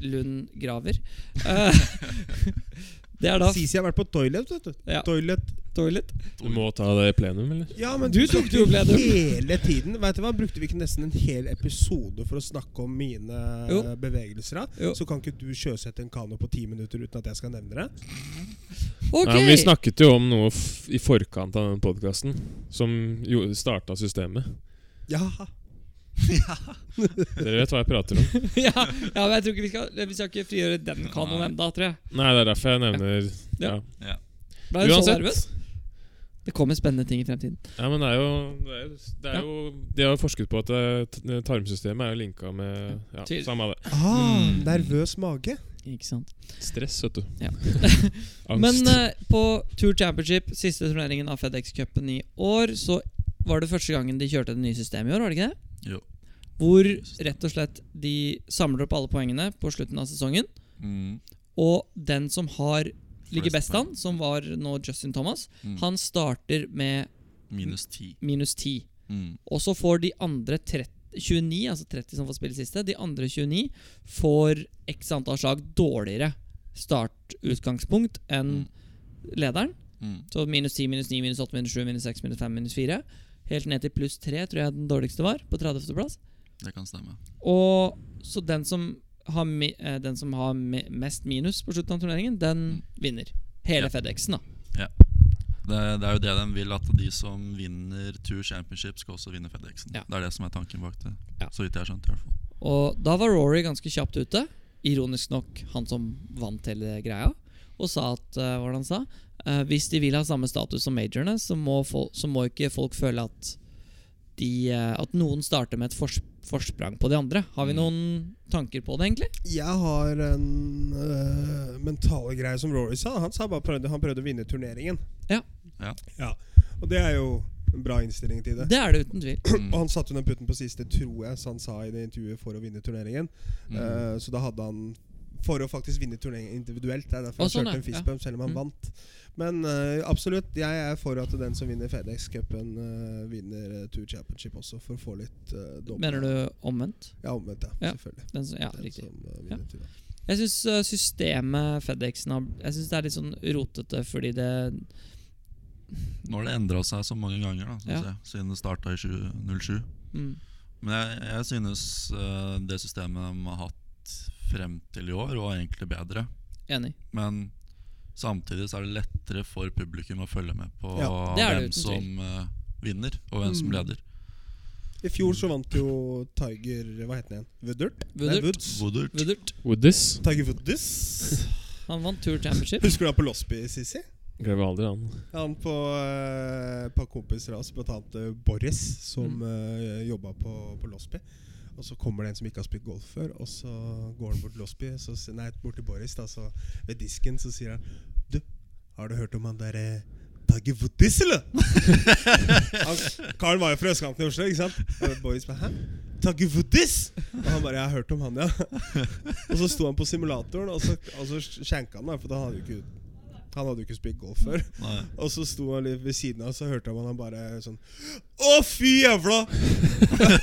[SPEAKER 2] Lund graver. Eh, det er da
[SPEAKER 5] Sisi har vært på toilet, vet du.
[SPEAKER 2] Ja.
[SPEAKER 5] Toilet.
[SPEAKER 2] toilet.
[SPEAKER 4] Du må ta det i plenum, eller?
[SPEAKER 5] Ja, men
[SPEAKER 2] Du tok det jo, ble du.
[SPEAKER 5] Hele tiden. Vet du hva? Brukte vi ikke nesten en hel episode for å snakke om mine
[SPEAKER 2] Jo.
[SPEAKER 5] eh, bevegelser? da?
[SPEAKER 2] Jo.
[SPEAKER 5] Så kan ikke du sjøsette en kano på ti minutter uten at jeg skal nevne det?
[SPEAKER 2] Ok!
[SPEAKER 4] Nei, men vi snakket jo om noe f i forkant av den podkasten som starta systemet.
[SPEAKER 5] Ja.
[SPEAKER 4] Dere vet hva jeg prater om.
[SPEAKER 2] ja, ja, men jeg tror ikke vi skal Vi skal ikke frigjøre den kanoen ennå, tror jeg.
[SPEAKER 4] Nei, det er derfor jeg nevner
[SPEAKER 2] Ja.
[SPEAKER 4] ja.
[SPEAKER 3] Ja.
[SPEAKER 2] Ble du så nervøs?
[SPEAKER 4] Uansett.
[SPEAKER 2] Det kommer spennende ting i fremtiden.
[SPEAKER 4] Ja, men det er jo, det er jo, det er
[SPEAKER 2] Ja.
[SPEAKER 4] jo De har jo forsket på at det- t- tarmsystemet er jo linka med Ja,
[SPEAKER 2] Tydelig.
[SPEAKER 4] samme det.
[SPEAKER 5] Ah,
[SPEAKER 3] Mm.
[SPEAKER 5] Nervøs mage.
[SPEAKER 2] Ikke sant?
[SPEAKER 4] Stress, vet du.
[SPEAKER 2] Ja.
[SPEAKER 4] Angst.
[SPEAKER 2] Men eh, på Tour Championship, siste turneringen av FedEx-cupen i år, så var det første gangen de kjørte det nye systemet i år, var det ikke det?
[SPEAKER 3] Jo.
[SPEAKER 2] Hvor rett og slett de samler opp alle poengene på slutten av sesongen,
[SPEAKER 3] Mm.
[SPEAKER 2] og den som har ligger
[SPEAKER 3] Flest
[SPEAKER 2] best an, som var nå Justin Thomas,
[SPEAKER 3] Mm.
[SPEAKER 2] han starter med
[SPEAKER 3] Minus 10.
[SPEAKER 2] minus 10.
[SPEAKER 3] Mm.
[SPEAKER 2] Og så får de andre 30, 29, altså 30 som får spille siste, de andre 29 får x antall slag dårligere startutgangspunkt enn
[SPEAKER 3] Mm.
[SPEAKER 2] lederen.
[SPEAKER 3] Mm.
[SPEAKER 2] Så minus 10, minus 9, minus 8, minus 7, minus 6, minus 5, minus 4. Helt ned til pluss 3, tror jeg den dårligste var, på 30. plass.
[SPEAKER 3] Det kan stemme.
[SPEAKER 2] Og så den som har, mi, eh, den som har me- mest minus på slutten av turneringen, den vinner. Hele
[SPEAKER 3] Mm. Ja.
[SPEAKER 2] FedExen, da.
[SPEAKER 3] Det, det er jo det de vil, at de som vinner Tour Championship, skal også vinne Fedexen.
[SPEAKER 2] Ja.
[SPEAKER 3] Det er det som er tanken bak det.
[SPEAKER 2] Ja.
[SPEAKER 3] Så vidt jeg har skjønt. i hvert fall
[SPEAKER 2] Og da var Rory ganske kjapt ute. Ironisk nok han som vant hele greia. Og sa at eh, hva var det han sa? Eh, hvis de vil ha samme status som majorene, så må, fol så må ikke folk føle at de, eh, at noen starter med et fors forsprang på de andre. Har vi
[SPEAKER 3] Mm.
[SPEAKER 2] noen tanker på det, egentlig?
[SPEAKER 5] Jeg har en øh, mentale greie som Rory sa. Han sa bare prøvde, han prøvde å vinne turneringen.
[SPEAKER 2] Ja.
[SPEAKER 3] Ja.
[SPEAKER 5] Ja. Og det er jo en bra innstilling til det.
[SPEAKER 2] Det er det uten tvil.
[SPEAKER 3] Mm.
[SPEAKER 5] Og han satte jo den putten på siste, tror jeg, så han sa i det intervjuet, for å vinne turneringen.
[SPEAKER 3] Mm.
[SPEAKER 5] Eh, så da hadde han For å faktisk vinne turneringen individuelt. Det er derfor
[SPEAKER 2] Å,
[SPEAKER 5] han
[SPEAKER 2] sånn,
[SPEAKER 5] kjørte en
[SPEAKER 2] ja. Ja.
[SPEAKER 5] fistbump, selv om han
[SPEAKER 2] Mm.
[SPEAKER 5] vant. Men eh, absolutt, jeg er for at den som vinner FedEx-cupen, eh, vinner eh, Tour Championship også, for å få litt uh, dobbelt.
[SPEAKER 2] Mener du omvendt?
[SPEAKER 5] Ja, omvendt, ja.
[SPEAKER 2] Ja.
[SPEAKER 5] Selvfølgelig.
[SPEAKER 2] Den som, ja,
[SPEAKER 5] Den
[SPEAKER 2] riktig.
[SPEAKER 5] som eh, vinner turen.
[SPEAKER 2] Jeg syns eh, systemet FedExen har Jeg synes det er litt sånn rotete fordi det
[SPEAKER 3] Nå har det endra seg så mange ganger, da, synes
[SPEAKER 2] Ja.
[SPEAKER 3] jeg, siden det starta i 20 07.
[SPEAKER 2] mm,
[SPEAKER 3] Men jeg, jeg synes eh, det systemet de har hatt frem til i år, var egentlig bedre.
[SPEAKER 2] Enig.
[SPEAKER 3] Men samtidig så er det lettere for publikum å følge med på
[SPEAKER 5] Ja,
[SPEAKER 2] det er det
[SPEAKER 3] hvem
[SPEAKER 2] uten
[SPEAKER 3] som eh, vinner, og hvem
[SPEAKER 5] Mm.
[SPEAKER 3] som leder.
[SPEAKER 5] I fjor så vant jo Tiger Hva het den igjen? Woodert? Nei,
[SPEAKER 2] Woodard,
[SPEAKER 5] Woods.
[SPEAKER 3] Woodard.
[SPEAKER 2] Woodard.
[SPEAKER 4] Woodies.
[SPEAKER 5] Tiger Woods.
[SPEAKER 2] Han vant Tour Championship.
[SPEAKER 5] Husker du han på Losby, Sissy?
[SPEAKER 4] Glemmer aldri han.
[SPEAKER 5] Han på eh, et par kompiser av oss, blant annet eh, Boris, som mm. jobba på, på Losby. Og så kommer det en som ikke har spilt golf før, og så går han bort til Losby, så, s- nei, bort til Boris, da, så ved disken, så sier han Du, har du hørt om han derre Tiger Woodis, eller? han, Karen var jo fra østkanten i Oslo, ikke sant? Og Boris bare Hæ? Tiger Woodis? Og han bare Jeg har hørt om han, ja. og så sto han på simulatoren, og så, og så skjenka han, da, for han hadde jo ikke, han hadde jo ikke spilt golf før.
[SPEAKER 3] Nei.
[SPEAKER 5] Og så sto han litt ved siden av, så hørte man han bare sånn Å, fy jævla!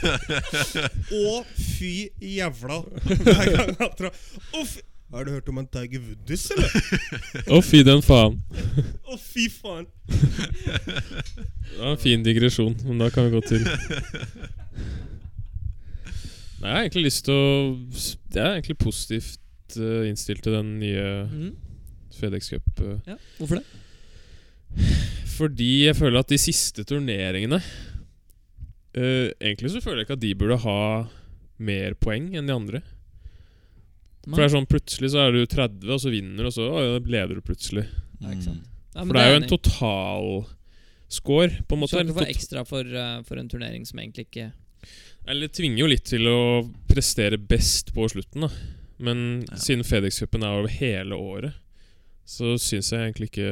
[SPEAKER 5] Å, fy jævla! Hver gang han tra- Å, fy Har du hørt om en Tiger Woodies, eller?
[SPEAKER 4] Å, fy den faen.
[SPEAKER 5] Å, fy faen!
[SPEAKER 4] Det var en fin digresjon, men da kan vi gå til Nei, Jeg har egentlig lyst til å Jeg er egentlig positivt eh, innstilt til den nye
[SPEAKER 2] Mm.
[SPEAKER 4] Fedex Cup. eh,
[SPEAKER 2] Ja. Hvorfor det?
[SPEAKER 4] Fordi jeg føler at de siste turneringene eh, Egentlig så føler jeg ikke at de burde ha mer poeng enn de andre. For det er sånn plutselig så er du 30, og så vinner du, og så å, ja, leder du plutselig.
[SPEAKER 2] Ja, ikke
[SPEAKER 3] Mm.
[SPEAKER 2] sant. Mm. Ja, men
[SPEAKER 4] For det er jo
[SPEAKER 2] enig.
[SPEAKER 4] en totalscore,
[SPEAKER 2] Du
[SPEAKER 4] på en måte.
[SPEAKER 2] skal
[SPEAKER 4] eller
[SPEAKER 2] ikke få
[SPEAKER 4] tot-
[SPEAKER 2] ekstra for, eh, for en turnering som egentlig ikke
[SPEAKER 4] Eller det tvinger jo litt til å prestere best på slutten, da. Men
[SPEAKER 3] Ja.
[SPEAKER 4] siden Fedex-cupen er over hele året, så syns jeg egentlig ikke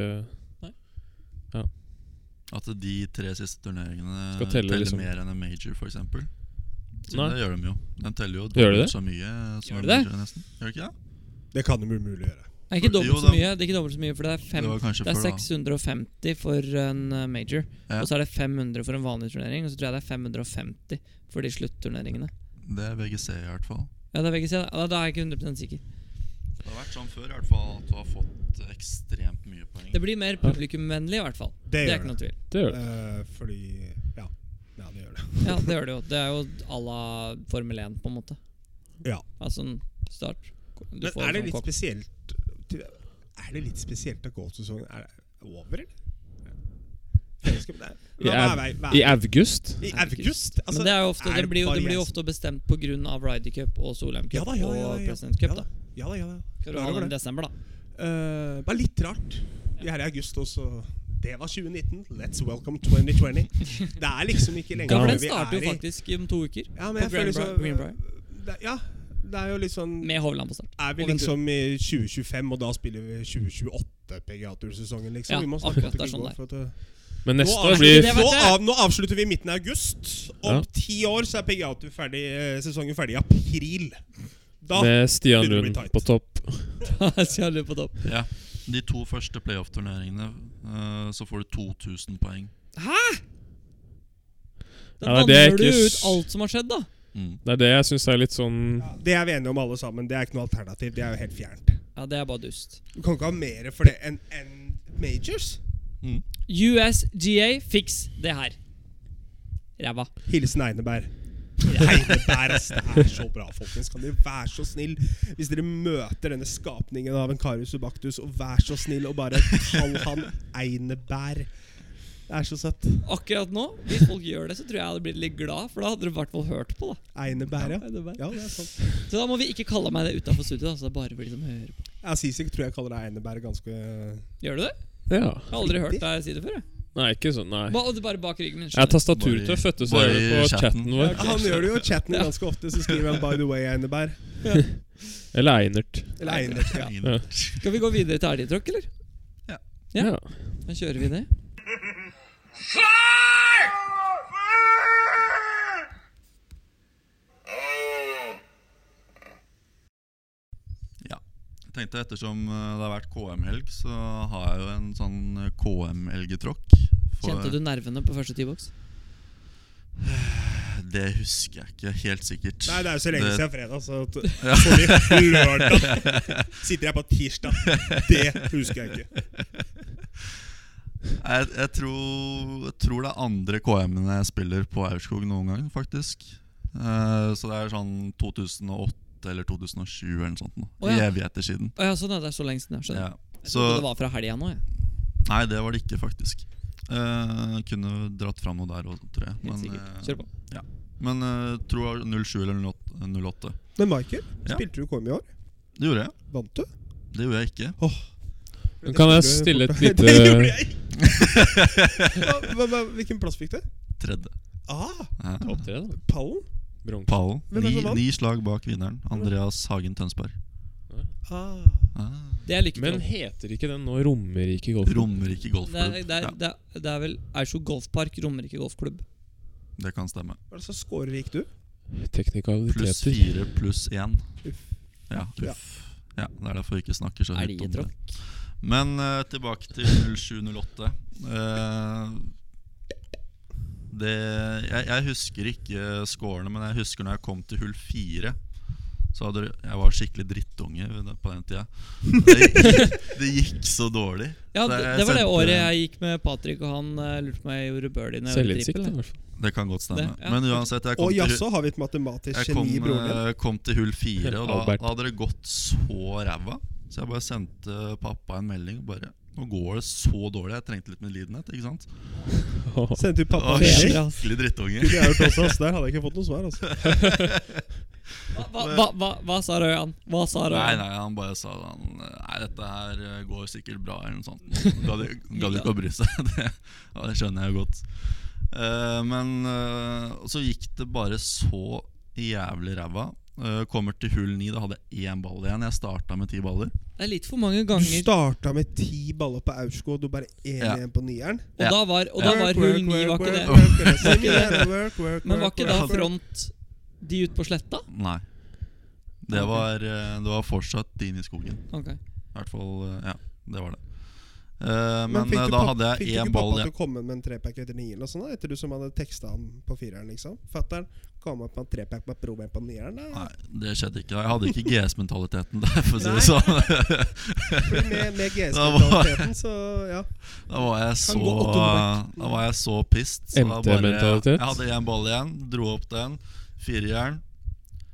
[SPEAKER 3] At de tre siste turneringene
[SPEAKER 4] Skal telle,
[SPEAKER 3] teller
[SPEAKER 4] liksom.
[SPEAKER 3] mer enn en major, f.eks.
[SPEAKER 4] Nei.
[SPEAKER 3] Det gjør de jo. De teller jo
[SPEAKER 4] Gjør de det?
[SPEAKER 3] dobbelt så mye som
[SPEAKER 2] Gjør
[SPEAKER 3] en
[SPEAKER 2] de det?
[SPEAKER 3] major, nesten. Gjør de ikke det?
[SPEAKER 5] Det kan de umulig gjøre.
[SPEAKER 2] Det er ikke dobbelt
[SPEAKER 3] Jo,
[SPEAKER 2] så
[SPEAKER 3] det-
[SPEAKER 2] mye, det er ikke dobbelt så mye for det er, fem,
[SPEAKER 3] Det var kanskje
[SPEAKER 2] det er
[SPEAKER 3] for da.
[SPEAKER 2] 650 for en eh, major.
[SPEAKER 3] Ja.
[SPEAKER 2] Og så er det 500 for en vanlig turnering, og så tror jeg det er 550 for de slutturneringene.
[SPEAKER 3] Det er VGC i hvert fall.
[SPEAKER 2] Ja, det er VGC. Da, da er jeg ikke 100 sikker.
[SPEAKER 3] Det har vært sånn før i hvert fall at du har fått ekstremt mye poeng.
[SPEAKER 2] Det blir mer publikumvennlig, i hvert fall.
[SPEAKER 5] Det
[SPEAKER 2] Det er
[SPEAKER 5] gjør
[SPEAKER 2] ikke
[SPEAKER 5] det.
[SPEAKER 2] noe tvil.
[SPEAKER 4] Det gjør det.
[SPEAKER 5] Eh, fordi Ja. Ja, det gjør det.
[SPEAKER 2] Ja, det gjør det jo. Det er jo à la Formel 1, på en måte.
[SPEAKER 5] Ja.
[SPEAKER 2] Altså en start. Du
[SPEAKER 5] Men
[SPEAKER 2] får
[SPEAKER 5] er det
[SPEAKER 2] sånn
[SPEAKER 5] litt
[SPEAKER 2] kopp.
[SPEAKER 5] spesielt Er det litt spesielt at golfsesongen er over, eller? Jeg husker- Nei,
[SPEAKER 4] I,
[SPEAKER 5] hva- hva er- hva
[SPEAKER 4] av,
[SPEAKER 5] er-
[SPEAKER 4] I august?
[SPEAKER 5] I august? Altså,
[SPEAKER 2] Men det, er jo ofte, det, blir jo,
[SPEAKER 5] bare
[SPEAKER 2] det blir jo
[SPEAKER 5] jeg som-
[SPEAKER 2] ofte bestemt pga. Ryder Cup og Solheim Cup
[SPEAKER 5] Ja da, ja, ja, ja,
[SPEAKER 2] og
[SPEAKER 5] ja.
[SPEAKER 2] Presidents Cup.
[SPEAKER 5] Ja
[SPEAKER 2] da.
[SPEAKER 5] da. Ja da, ja da.
[SPEAKER 2] Skal du
[SPEAKER 5] Klar
[SPEAKER 2] ha
[SPEAKER 5] over
[SPEAKER 2] den i
[SPEAKER 5] det.
[SPEAKER 2] desember, da?
[SPEAKER 5] Eh, bare litt rart. Vi er i august også. Det var 2019. Let's welcome 2020. Det er liksom ikke lenger
[SPEAKER 2] Ja, for
[SPEAKER 5] hvor
[SPEAKER 2] den
[SPEAKER 5] vi
[SPEAKER 2] starter
[SPEAKER 5] er
[SPEAKER 2] jo
[SPEAKER 5] i-
[SPEAKER 2] faktisk om to uker.
[SPEAKER 5] ja,
[SPEAKER 2] på
[SPEAKER 5] men jeg føler
[SPEAKER 2] Greenbrier-
[SPEAKER 5] så,
[SPEAKER 2] Greenbrier.
[SPEAKER 5] det, Ja, det er jo litt sånn
[SPEAKER 2] Med Hovland på start.
[SPEAKER 5] Er vi
[SPEAKER 2] og Ventura.
[SPEAKER 5] liksom i 2025, og da spiller vi 2028 PGA Tour-sesongen, liksom?
[SPEAKER 2] Ja,
[SPEAKER 5] vi må
[SPEAKER 2] akkurat,
[SPEAKER 5] snakke om
[SPEAKER 2] det er sånn det er.
[SPEAKER 5] for at det-
[SPEAKER 4] Men
[SPEAKER 5] nå,
[SPEAKER 4] neste år
[SPEAKER 5] avslutter-
[SPEAKER 4] blir
[SPEAKER 2] det var-
[SPEAKER 5] nå, av, nå avslutter vi i midten av august. Om
[SPEAKER 4] Ja.
[SPEAKER 5] ti år så er PGA Tour ferdig, eh, sesongen ferdig i april. Da
[SPEAKER 4] med Stian
[SPEAKER 5] begynner det å bli
[SPEAKER 4] Lund
[SPEAKER 5] tight.
[SPEAKER 4] på topp.
[SPEAKER 2] Kjærlig på topp.
[SPEAKER 3] Ja. De to første playoff-turneringene eh, så får du 2000 poeng.
[SPEAKER 2] Da
[SPEAKER 4] Ja,
[SPEAKER 2] vanner
[SPEAKER 4] det er
[SPEAKER 2] du
[SPEAKER 4] ikke
[SPEAKER 2] ut
[SPEAKER 4] s-
[SPEAKER 2] alt som har skjedd, da.
[SPEAKER 3] Mm.
[SPEAKER 4] Det er det jeg syns er litt sånn
[SPEAKER 5] Det er vi enige om alle sammen. Det er ikke noe alternativ. Det er jo helt fjernt.
[SPEAKER 2] Ja, Det er bare dust.
[SPEAKER 5] Du kan ikke ha mer for det enn enn majors.
[SPEAKER 3] Mm.
[SPEAKER 2] USGA, fiks det her. Ræva.
[SPEAKER 5] Hilsen Eineberg. Eineberg, ass. Det er så bra, folkens. Kan dere være så snill, hvis dere møter denne skapningen av en Karius Ubaktus, og vær så snill og bare kall han Eineberg. Det er så søtt.
[SPEAKER 2] Akkurat nå, hvis folk gjør det, så tror jeg jeg hadde blitt litt glad, for da hadde dere i hvert fall hørt på. da
[SPEAKER 5] Eineberg, ja.
[SPEAKER 2] Eineberg.
[SPEAKER 5] Ja, det er sant.
[SPEAKER 2] Så da må vi ikke kalle meg det utafor studio, da, så det er bare for de som hører på.
[SPEAKER 5] Ja, Sisik tror jeg kaller deg Eineberg ganske Jeg
[SPEAKER 2] Gjør du det?
[SPEAKER 4] Ja.
[SPEAKER 2] Jeg har aldri hørt deg si det før. jeg.
[SPEAKER 4] Nei, ikke sånn. Nei.
[SPEAKER 2] Ba, og det er bare bak ryggen min.
[SPEAKER 4] Jeg er
[SPEAKER 2] skjønner du?
[SPEAKER 4] tastaturtøff, vet du, så
[SPEAKER 3] Bare
[SPEAKER 4] jeg
[SPEAKER 3] i-
[SPEAKER 4] er det på
[SPEAKER 3] chatten.
[SPEAKER 4] chatten vår.
[SPEAKER 5] Han gjør det jo i chatten ganske ofte, så skriver han 'By the way, Eineberg'.
[SPEAKER 4] Eller Einert.
[SPEAKER 5] Eller Einert. Ja.
[SPEAKER 3] Ingen-
[SPEAKER 2] Skal vi gå videre til elgtråkk, eller? Ja.
[SPEAKER 4] Ja.
[SPEAKER 2] Da kjører vi det.
[SPEAKER 3] Ja. Jeg tenkte Ettersom eh, det har vært KM-helg, så har jeg jo en sånn KM-elgetråkk.
[SPEAKER 2] Kjente du nervene på første T-boks?
[SPEAKER 3] Det husker jeg ikke helt sikkert.
[SPEAKER 5] Nei, det er jo så lenge
[SPEAKER 3] Det-
[SPEAKER 5] siden fredag, så t sorry. Lørdag. Sitter jeg på tirsdag. Det husker jeg ikke.
[SPEAKER 3] Jeg, jeg, tror, jeg tror det er andre KM-en jeg spiller på Aurskog noen gang, faktisk. Eh, så det er sånn 2008 eller 2007 eller noe sånt. nå.
[SPEAKER 2] Å, ja.
[SPEAKER 3] Evigheter siden.
[SPEAKER 2] Å ja, sånn, ja. Det er så lenge siden. Jeg skjønner.
[SPEAKER 3] Ja.
[SPEAKER 2] Jeg trodde det
[SPEAKER 3] Så
[SPEAKER 2] var fra helga nå, jeg.
[SPEAKER 3] Nei, det var det ikke, faktisk. Eh, kunne dratt fram noe der òg, tror jeg.
[SPEAKER 2] Helt
[SPEAKER 3] Men,
[SPEAKER 2] sikkert.
[SPEAKER 3] eh,
[SPEAKER 2] Kjør på.
[SPEAKER 3] men eh, tror det var 07 eller 08. 08.
[SPEAKER 5] Men Michael,
[SPEAKER 3] Ja.
[SPEAKER 5] spilte du KM i år?
[SPEAKER 3] Det gjorde jeg.
[SPEAKER 5] Vant du?
[SPEAKER 3] Det gjorde jeg ikke.
[SPEAKER 4] Men kan jeg stille et lite
[SPEAKER 5] Det gjorde jeg ikke! Hva- hva- hva- Hvilken plass fikk du?
[SPEAKER 3] Tredje.
[SPEAKER 5] Ah,
[SPEAKER 3] Ja.
[SPEAKER 4] Topp tre, da.
[SPEAKER 5] pallen?
[SPEAKER 4] Bronk.
[SPEAKER 3] Pallen.
[SPEAKER 5] Hvem er det
[SPEAKER 3] Ni,
[SPEAKER 5] som vant?
[SPEAKER 3] ni slag bak vinneren. Andreas Hagen Tønsberg.
[SPEAKER 5] Ah.
[SPEAKER 3] Ah.
[SPEAKER 2] Det er lykke
[SPEAKER 4] Men
[SPEAKER 2] til.
[SPEAKER 4] heter ikke den nå Romerike Golf?
[SPEAKER 3] Romerike
[SPEAKER 2] Det
[SPEAKER 3] golfklubb.
[SPEAKER 2] er, det, er,
[SPEAKER 3] Ja,
[SPEAKER 2] det, er, det er vel Eirsjo Golfpark, Romerike Golfklubb.
[SPEAKER 3] det kan stemme.
[SPEAKER 5] Hva er det som scorer gikk du?
[SPEAKER 3] Pluss
[SPEAKER 4] Teknikaliteter.
[SPEAKER 3] fire pluss én.
[SPEAKER 5] Uff.
[SPEAKER 3] Ja,
[SPEAKER 5] Ja.
[SPEAKER 3] uff. Ja, det er derfor vi ikke snakker så høyt om det.
[SPEAKER 2] Elgetråkk.
[SPEAKER 3] Men eh, tilbake til 0708. Eh, det jeg, jeg husker ikke scorene, men jeg husker når jeg kom til hull fire. Så hadde, jeg var skikkelig drittunge på den tida. Det gikk, det gikk så dårlig.
[SPEAKER 2] Ja,
[SPEAKER 3] Så
[SPEAKER 2] det,
[SPEAKER 3] jeg
[SPEAKER 2] det var det
[SPEAKER 3] sendte-
[SPEAKER 2] året jeg gikk med Patrick, og han eh, lurte på om jeg gjorde birdie når jeg gjorde
[SPEAKER 4] Selvinnsikt, i
[SPEAKER 2] trippel.
[SPEAKER 4] hvert fall.
[SPEAKER 3] Det kan godt stemme.
[SPEAKER 2] Det, ja.
[SPEAKER 3] Men uansett, jeg
[SPEAKER 5] Og
[SPEAKER 3] kom til
[SPEAKER 5] jaså, har vi et matematisk
[SPEAKER 3] Jeg kom,
[SPEAKER 5] geni i broren din?
[SPEAKER 3] eh, kom til hull fire, og da,
[SPEAKER 4] Albert.
[SPEAKER 3] da hadde det gått så ræva. Så jeg bare sendte pappa en melding og bare Nå går det så dårlig. Jeg trengte litt medlidenhet. ikke sant?
[SPEAKER 5] Sendte du pappa
[SPEAKER 3] Å,
[SPEAKER 5] en melding?
[SPEAKER 2] Bedre, ass.
[SPEAKER 3] skikkelig drittunge.
[SPEAKER 5] Kunne jeg hørt også, ass. Der hadde jeg ikke fått noe svar. Altså.
[SPEAKER 2] Hva, hva, hva, hva, hva sa Røyan? Hva sa
[SPEAKER 3] Nei,
[SPEAKER 2] Røyan?
[SPEAKER 3] nei, han bare sa han, Nei, dette her eh, går sikkert bra, eller noe sånt. Gadd gadd ikke å bry seg. Det, ja, det skjønner jeg jo godt. Eh, men eh, så gikk det bare så jævlig ræva. Eh, kommer til hull ni, da hadde jeg én ball igjen. Jeg starta med ti baller.
[SPEAKER 2] Det er litt for mange
[SPEAKER 5] Du
[SPEAKER 2] ganger.
[SPEAKER 5] starta med ti baller på Aurskog, du bare én
[SPEAKER 3] Ja.
[SPEAKER 5] igjen på nieren.
[SPEAKER 2] Og
[SPEAKER 3] Ja.
[SPEAKER 2] da var, og da var
[SPEAKER 5] Work,
[SPEAKER 2] hull
[SPEAKER 5] work,
[SPEAKER 2] ni, var
[SPEAKER 5] work,
[SPEAKER 2] ikke det?
[SPEAKER 5] work, work, work, work, work, work,
[SPEAKER 2] Men var
[SPEAKER 5] work,
[SPEAKER 2] ikke da
[SPEAKER 5] work, work.
[SPEAKER 2] front de ute på sletta?
[SPEAKER 3] Nei. Det var, eh, det var fortsatt din i skogen.
[SPEAKER 2] Ok.
[SPEAKER 3] I hvert fall eh, Ja, det var det. Eh,
[SPEAKER 5] Men
[SPEAKER 3] men
[SPEAKER 5] fikk
[SPEAKER 3] eh,
[SPEAKER 5] du
[SPEAKER 3] da
[SPEAKER 5] pap-
[SPEAKER 3] hadde
[SPEAKER 5] fikk
[SPEAKER 3] jeg
[SPEAKER 5] du
[SPEAKER 3] én
[SPEAKER 5] ikke
[SPEAKER 3] ball
[SPEAKER 5] pappa til
[SPEAKER 3] igjen.
[SPEAKER 5] å komme med en trepack etter nieren og sånn, da, etter du som hadde teksta han på fireren, liksom? Fatter'n kom opp med en trepack med broren på nieren. Da.
[SPEAKER 3] Nei, det skjedde ikke. Jeg hadde ikke GS-mentaliteten der, for å si det sånn.
[SPEAKER 5] Fordi med, med
[SPEAKER 3] Da var-
[SPEAKER 5] GS-mentaliteten, så ja.
[SPEAKER 3] Da var jeg
[SPEAKER 5] Kan
[SPEAKER 3] så
[SPEAKER 5] gå åttohundre.
[SPEAKER 3] Da var jeg så pissed. Så da bare-
[SPEAKER 4] MT-mentalitet.
[SPEAKER 3] Jeg hadde én ball igjen, dro opp den. Firejern.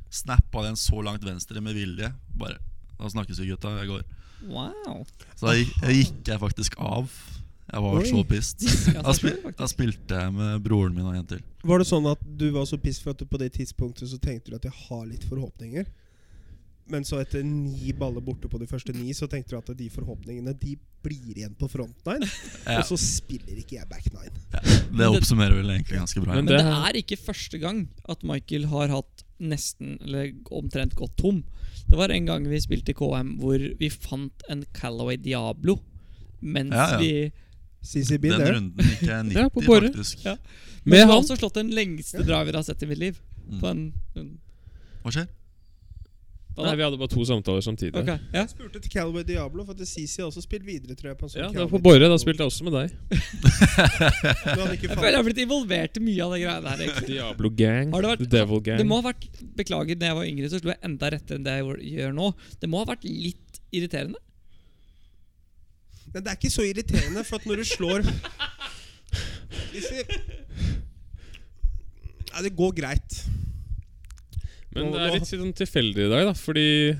[SPEAKER 3] Snappa den så langt venstre med vilje. Bare Da snakkes vi, gutta. Jeg går.
[SPEAKER 2] Wow.
[SPEAKER 3] Så da gikk, jeg gikk jeg faktisk av. Jeg var
[SPEAKER 5] Oi.
[SPEAKER 3] så pissed.
[SPEAKER 2] Diska seg
[SPEAKER 3] Da,
[SPEAKER 2] sjøl,
[SPEAKER 3] spil, da
[SPEAKER 2] faktisk.
[SPEAKER 3] spilte jeg med broren min og en til.
[SPEAKER 5] Var det sånn at du var så pissed for at du på det tidspunktet så tenkte du at jeg har litt forhåpninger? Men så etter ni baller borte på de første ni, så tenkte du at de forhåpningene De blir igjen på front nine.
[SPEAKER 3] Ja.
[SPEAKER 5] Og så spiller ikke jeg back nine.
[SPEAKER 3] Det oppsummerer vel egentlig ganske bra.
[SPEAKER 4] Men
[SPEAKER 2] Men det
[SPEAKER 4] Det
[SPEAKER 2] er ikke første gang at Michael har hatt nesten, eller omtrent gått tom. Det var en gang vi spilte KM hvor vi fant en Callaway Diablo. Mens
[SPEAKER 3] Ja, ja.
[SPEAKER 2] vi
[SPEAKER 5] CC
[SPEAKER 3] Den
[SPEAKER 5] Bean der.
[SPEAKER 3] runden gikk jeg 90,
[SPEAKER 4] Ja, på bordet.
[SPEAKER 3] faktisk.
[SPEAKER 2] Ja. Men
[SPEAKER 4] Med
[SPEAKER 2] jeg har
[SPEAKER 4] han
[SPEAKER 2] også slått den lengste driver jeg har sett i mitt liv. På en, en
[SPEAKER 3] Hva skjer?
[SPEAKER 2] Hva da?
[SPEAKER 4] Nei, vi hadde bare to samtaler samtidig.
[SPEAKER 2] Ok, ja.
[SPEAKER 5] Jeg spurte til Calway Diablo, for at Sisi har også spilt videre, tror jeg. på en sånn
[SPEAKER 4] Ja, det var
[SPEAKER 5] Calway
[SPEAKER 4] på Borre. Da
[SPEAKER 5] Diablo.
[SPEAKER 4] spilte jeg også med deg.
[SPEAKER 5] Du hadde ikke
[SPEAKER 2] Jeg
[SPEAKER 5] falt-
[SPEAKER 2] føler jeg har blitt involvert i mye av det greia der. egentlig.
[SPEAKER 4] Diablo Gang.
[SPEAKER 2] Har det vært-
[SPEAKER 4] The Devil Gang.
[SPEAKER 2] Det må ha vært Beklager, da jeg var yngre, så slo jeg enda rettere enn det jeg gjør- gjør nå. Det må ha vært litt irriterende.
[SPEAKER 5] Men det er ikke så irriterende, for at når du slår Hvis vi Nei, det går greit.
[SPEAKER 4] Men det er litt sånn tilfeldig i dag, da, fordi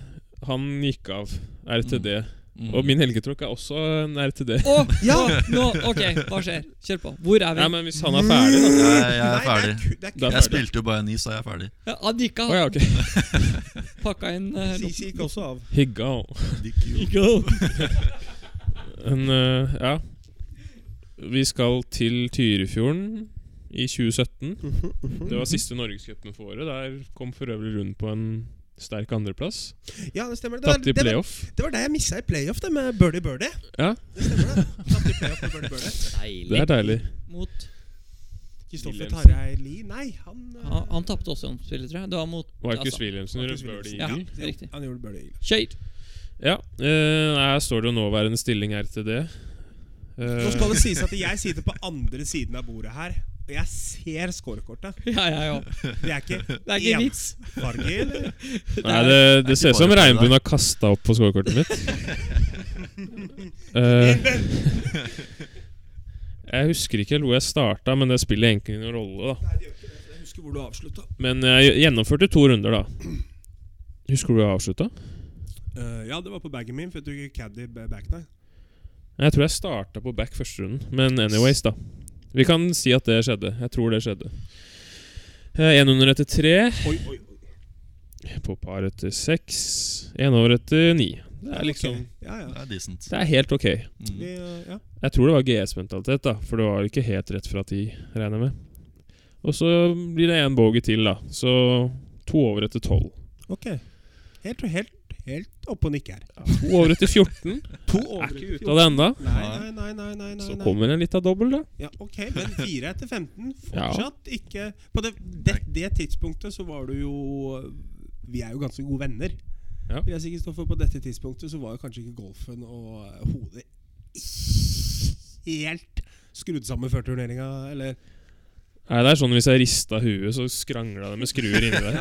[SPEAKER 4] han gikk av RTD. Og min helgetråkk er også en RTD.
[SPEAKER 2] Å, ja! Nå, ok, hva skjer? Kjør på. Hvor er vi?
[SPEAKER 4] Nei, men hvis han er ferdig, da
[SPEAKER 3] Jeg, jeg
[SPEAKER 5] Nei,
[SPEAKER 3] er
[SPEAKER 5] det
[SPEAKER 3] ferdig.
[SPEAKER 5] ku- det er
[SPEAKER 4] Da-
[SPEAKER 5] ku-
[SPEAKER 3] Jeg spilte jo bare ni, så jeg er ferdig.
[SPEAKER 2] Ja, han gikk av.
[SPEAKER 4] Å ja, ok.
[SPEAKER 2] Pakka inn uh,
[SPEAKER 5] Sisi gikk også av.
[SPEAKER 4] Higga og Men eh, ja. Vi skal til Tyrifjorden i 2017. Det var siste norgescupen for året. Der kom for øvrig Rund på en sterk andreplass.
[SPEAKER 5] Ja, det stemmer. Det var
[SPEAKER 4] Tatt i
[SPEAKER 5] det, var-
[SPEAKER 4] playoff.
[SPEAKER 5] det, var det jeg missa i playoff, det med Birdie Birdie.
[SPEAKER 4] Ja.
[SPEAKER 5] Det stemmer, det. Tatt i playoff med Birdie Birdie.
[SPEAKER 4] Det er deilig.
[SPEAKER 2] Mot
[SPEAKER 5] Kristoffer
[SPEAKER 4] Williamson.
[SPEAKER 5] Tarjei Lie Nei, han eh,
[SPEAKER 2] Han, han tapte også omspillet, tror jeg. Det var mot altså.
[SPEAKER 4] Marcus Williamsen
[SPEAKER 5] Marcus
[SPEAKER 4] gjorde birdie
[SPEAKER 5] Williamson.
[SPEAKER 2] Ja,
[SPEAKER 4] eagle.
[SPEAKER 5] jo,
[SPEAKER 2] riktig.
[SPEAKER 5] Han gjorde Birdie Eagle.
[SPEAKER 2] Kjør.
[SPEAKER 4] Ja. eh, her står det jo nåværende stilling her til det. Eh,
[SPEAKER 5] Nå skal det sies at jeg sitter på andre siden av bordet her, og jeg ser scorekortet.
[SPEAKER 2] Ja, ja, ja.
[SPEAKER 5] Det er ikke
[SPEAKER 2] Det er ikke
[SPEAKER 5] en-
[SPEAKER 2] vits.
[SPEAKER 5] farge, eller?
[SPEAKER 4] Nei, det,
[SPEAKER 3] er
[SPEAKER 4] det ser
[SPEAKER 3] ikke
[SPEAKER 4] ut
[SPEAKER 3] bare
[SPEAKER 4] som
[SPEAKER 3] for
[SPEAKER 4] regnbuen har kasta opp på scorekortet mitt. Eh, jeg husker ikke helt hvor jeg starta, men det spiller egentlig ingen rolle. da
[SPEAKER 5] Jeg husker hvor du avslutta.
[SPEAKER 4] Men jeg gjennomførte to runder, da. Husker du hvor jeg avslutta?
[SPEAKER 5] Eh, ja, det var på bagen min, for jeg tok Caddy b- back nine.
[SPEAKER 4] Jeg tror jeg starta på back første runden, men anyways, da. Vi kan si at det skjedde. Jeg tror det skjedde. Eh, En under etter tre,
[SPEAKER 5] Oi, oi, oi.
[SPEAKER 4] på par etter seks, en over etter ni. Det er liksom
[SPEAKER 5] Ok. Ja, ja.
[SPEAKER 3] Det er decent.
[SPEAKER 4] Det er helt ok.
[SPEAKER 3] Mm.
[SPEAKER 5] Vi, eh, ja.
[SPEAKER 4] Jeg tror det var GS-mentalitet, da, for det var ikke helt rett fra ti, regner jeg med. Og så blir det én bogey til, da. Så to over etter tolv.
[SPEAKER 5] Ok. Helt, helt, helt oppe og nikke her.
[SPEAKER 4] To over etter 14.
[SPEAKER 5] To
[SPEAKER 4] Er
[SPEAKER 5] over
[SPEAKER 4] ikke ute av det ennå.
[SPEAKER 5] Nei, nei, nei, nei, nei, nei.
[SPEAKER 4] Så kommer en liten dobbel, da.
[SPEAKER 5] Ja, ok, men 4 etter 15
[SPEAKER 4] Ja.
[SPEAKER 5] Fortsatt ikke På det, det, det tidspunktet så var du jo Vi er jo ganske gode venner
[SPEAKER 4] Ja.
[SPEAKER 5] Vil jeg si Kristoffer På dette tidspunktet så var jo kanskje ikke golfen og hodet Helt skrudd sammen før turneringa Eller
[SPEAKER 4] Nei, det er sånn hvis jeg rista huet, så skrangla det med skruer inni der.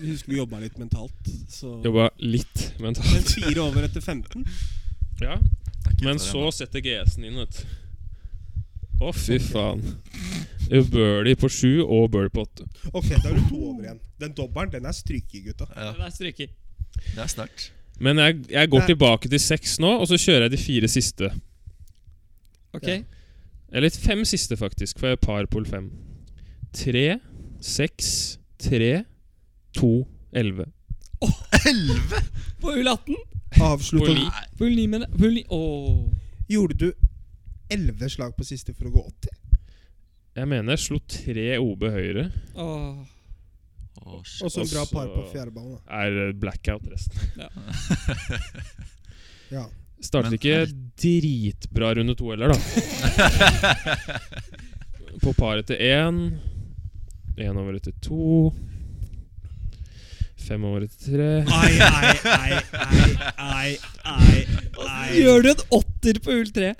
[SPEAKER 5] vi husker vi jobbet litt mentalt så.
[SPEAKER 4] Jobba litt mentalt.
[SPEAKER 5] Men 4 over etter 15
[SPEAKER 4] Ja.
[SPEAKER 3] Det er ikke
[SPEAKER 4] Men
[SPEAKER 3] for
[SPEAKER 4] så
[SPEAKER 3] en,
[SPEAKER 4] setter GS-en inn, vet du. Å, fy faen. Birdie på sju og birdie på åtte.
[SPEAKER 5] Ok, da er du 2 over igjen Den dobberen, den er stryke gutta
[SPEAKER 3] da. Ja,
[SPEAKER 2] Det er stryker.
[SPEAKER 3] det er sterkt.
[SPEAKER 4] Men jeg, jeg går
[SPEAKER 5] Nei.
[SPEAKER 4] tilbake til seks nå, og så kjører jeg de fire siste.
[SPEAKER 2] Ok.
[SPEAKER 5] Ja.
[SPEAKER 4] Eller fem siste, faktisk, for jeg er par pol fem. Tre, seks, tre, to, elleve.
[SPEAKER 2] På hull 18.
[SPEAKER 4] På
[SPEAKER 5] Avsluttet
[SPEAKER 4] li.
[SPEAKER 2] På hull 9 med Hull 9 Åh.
[SPEAKER 5] Gjorde du 11 slag på siste for å gå 80?
[SPEAKER 4] Jeg mener jeg slo tre OB høyre.
[SPEAKER 2] Åh.
[SPEAKER 3] Å, shit.
[SPEAKER 5] Og så en bra
[SPEAKER 4] Også-
[SPEAKER 5] par på fjerdeballen. da.
[SPEAKER 4] Er eh, blackout resten.
[SPEAKER 5] Ja.
[SPEAKER 4] Startet
[SPEAKER 3] Men-
[SPEAKER 4] ikke dritbra runde to heller, da. På par etter én. Én over etter to. Fem over etter tre.
[SPEAKER 5] Ai, ai, ai, ai, ai, ai, ai.
[SPEAKER 2] Gjør du en åtter på hull 3?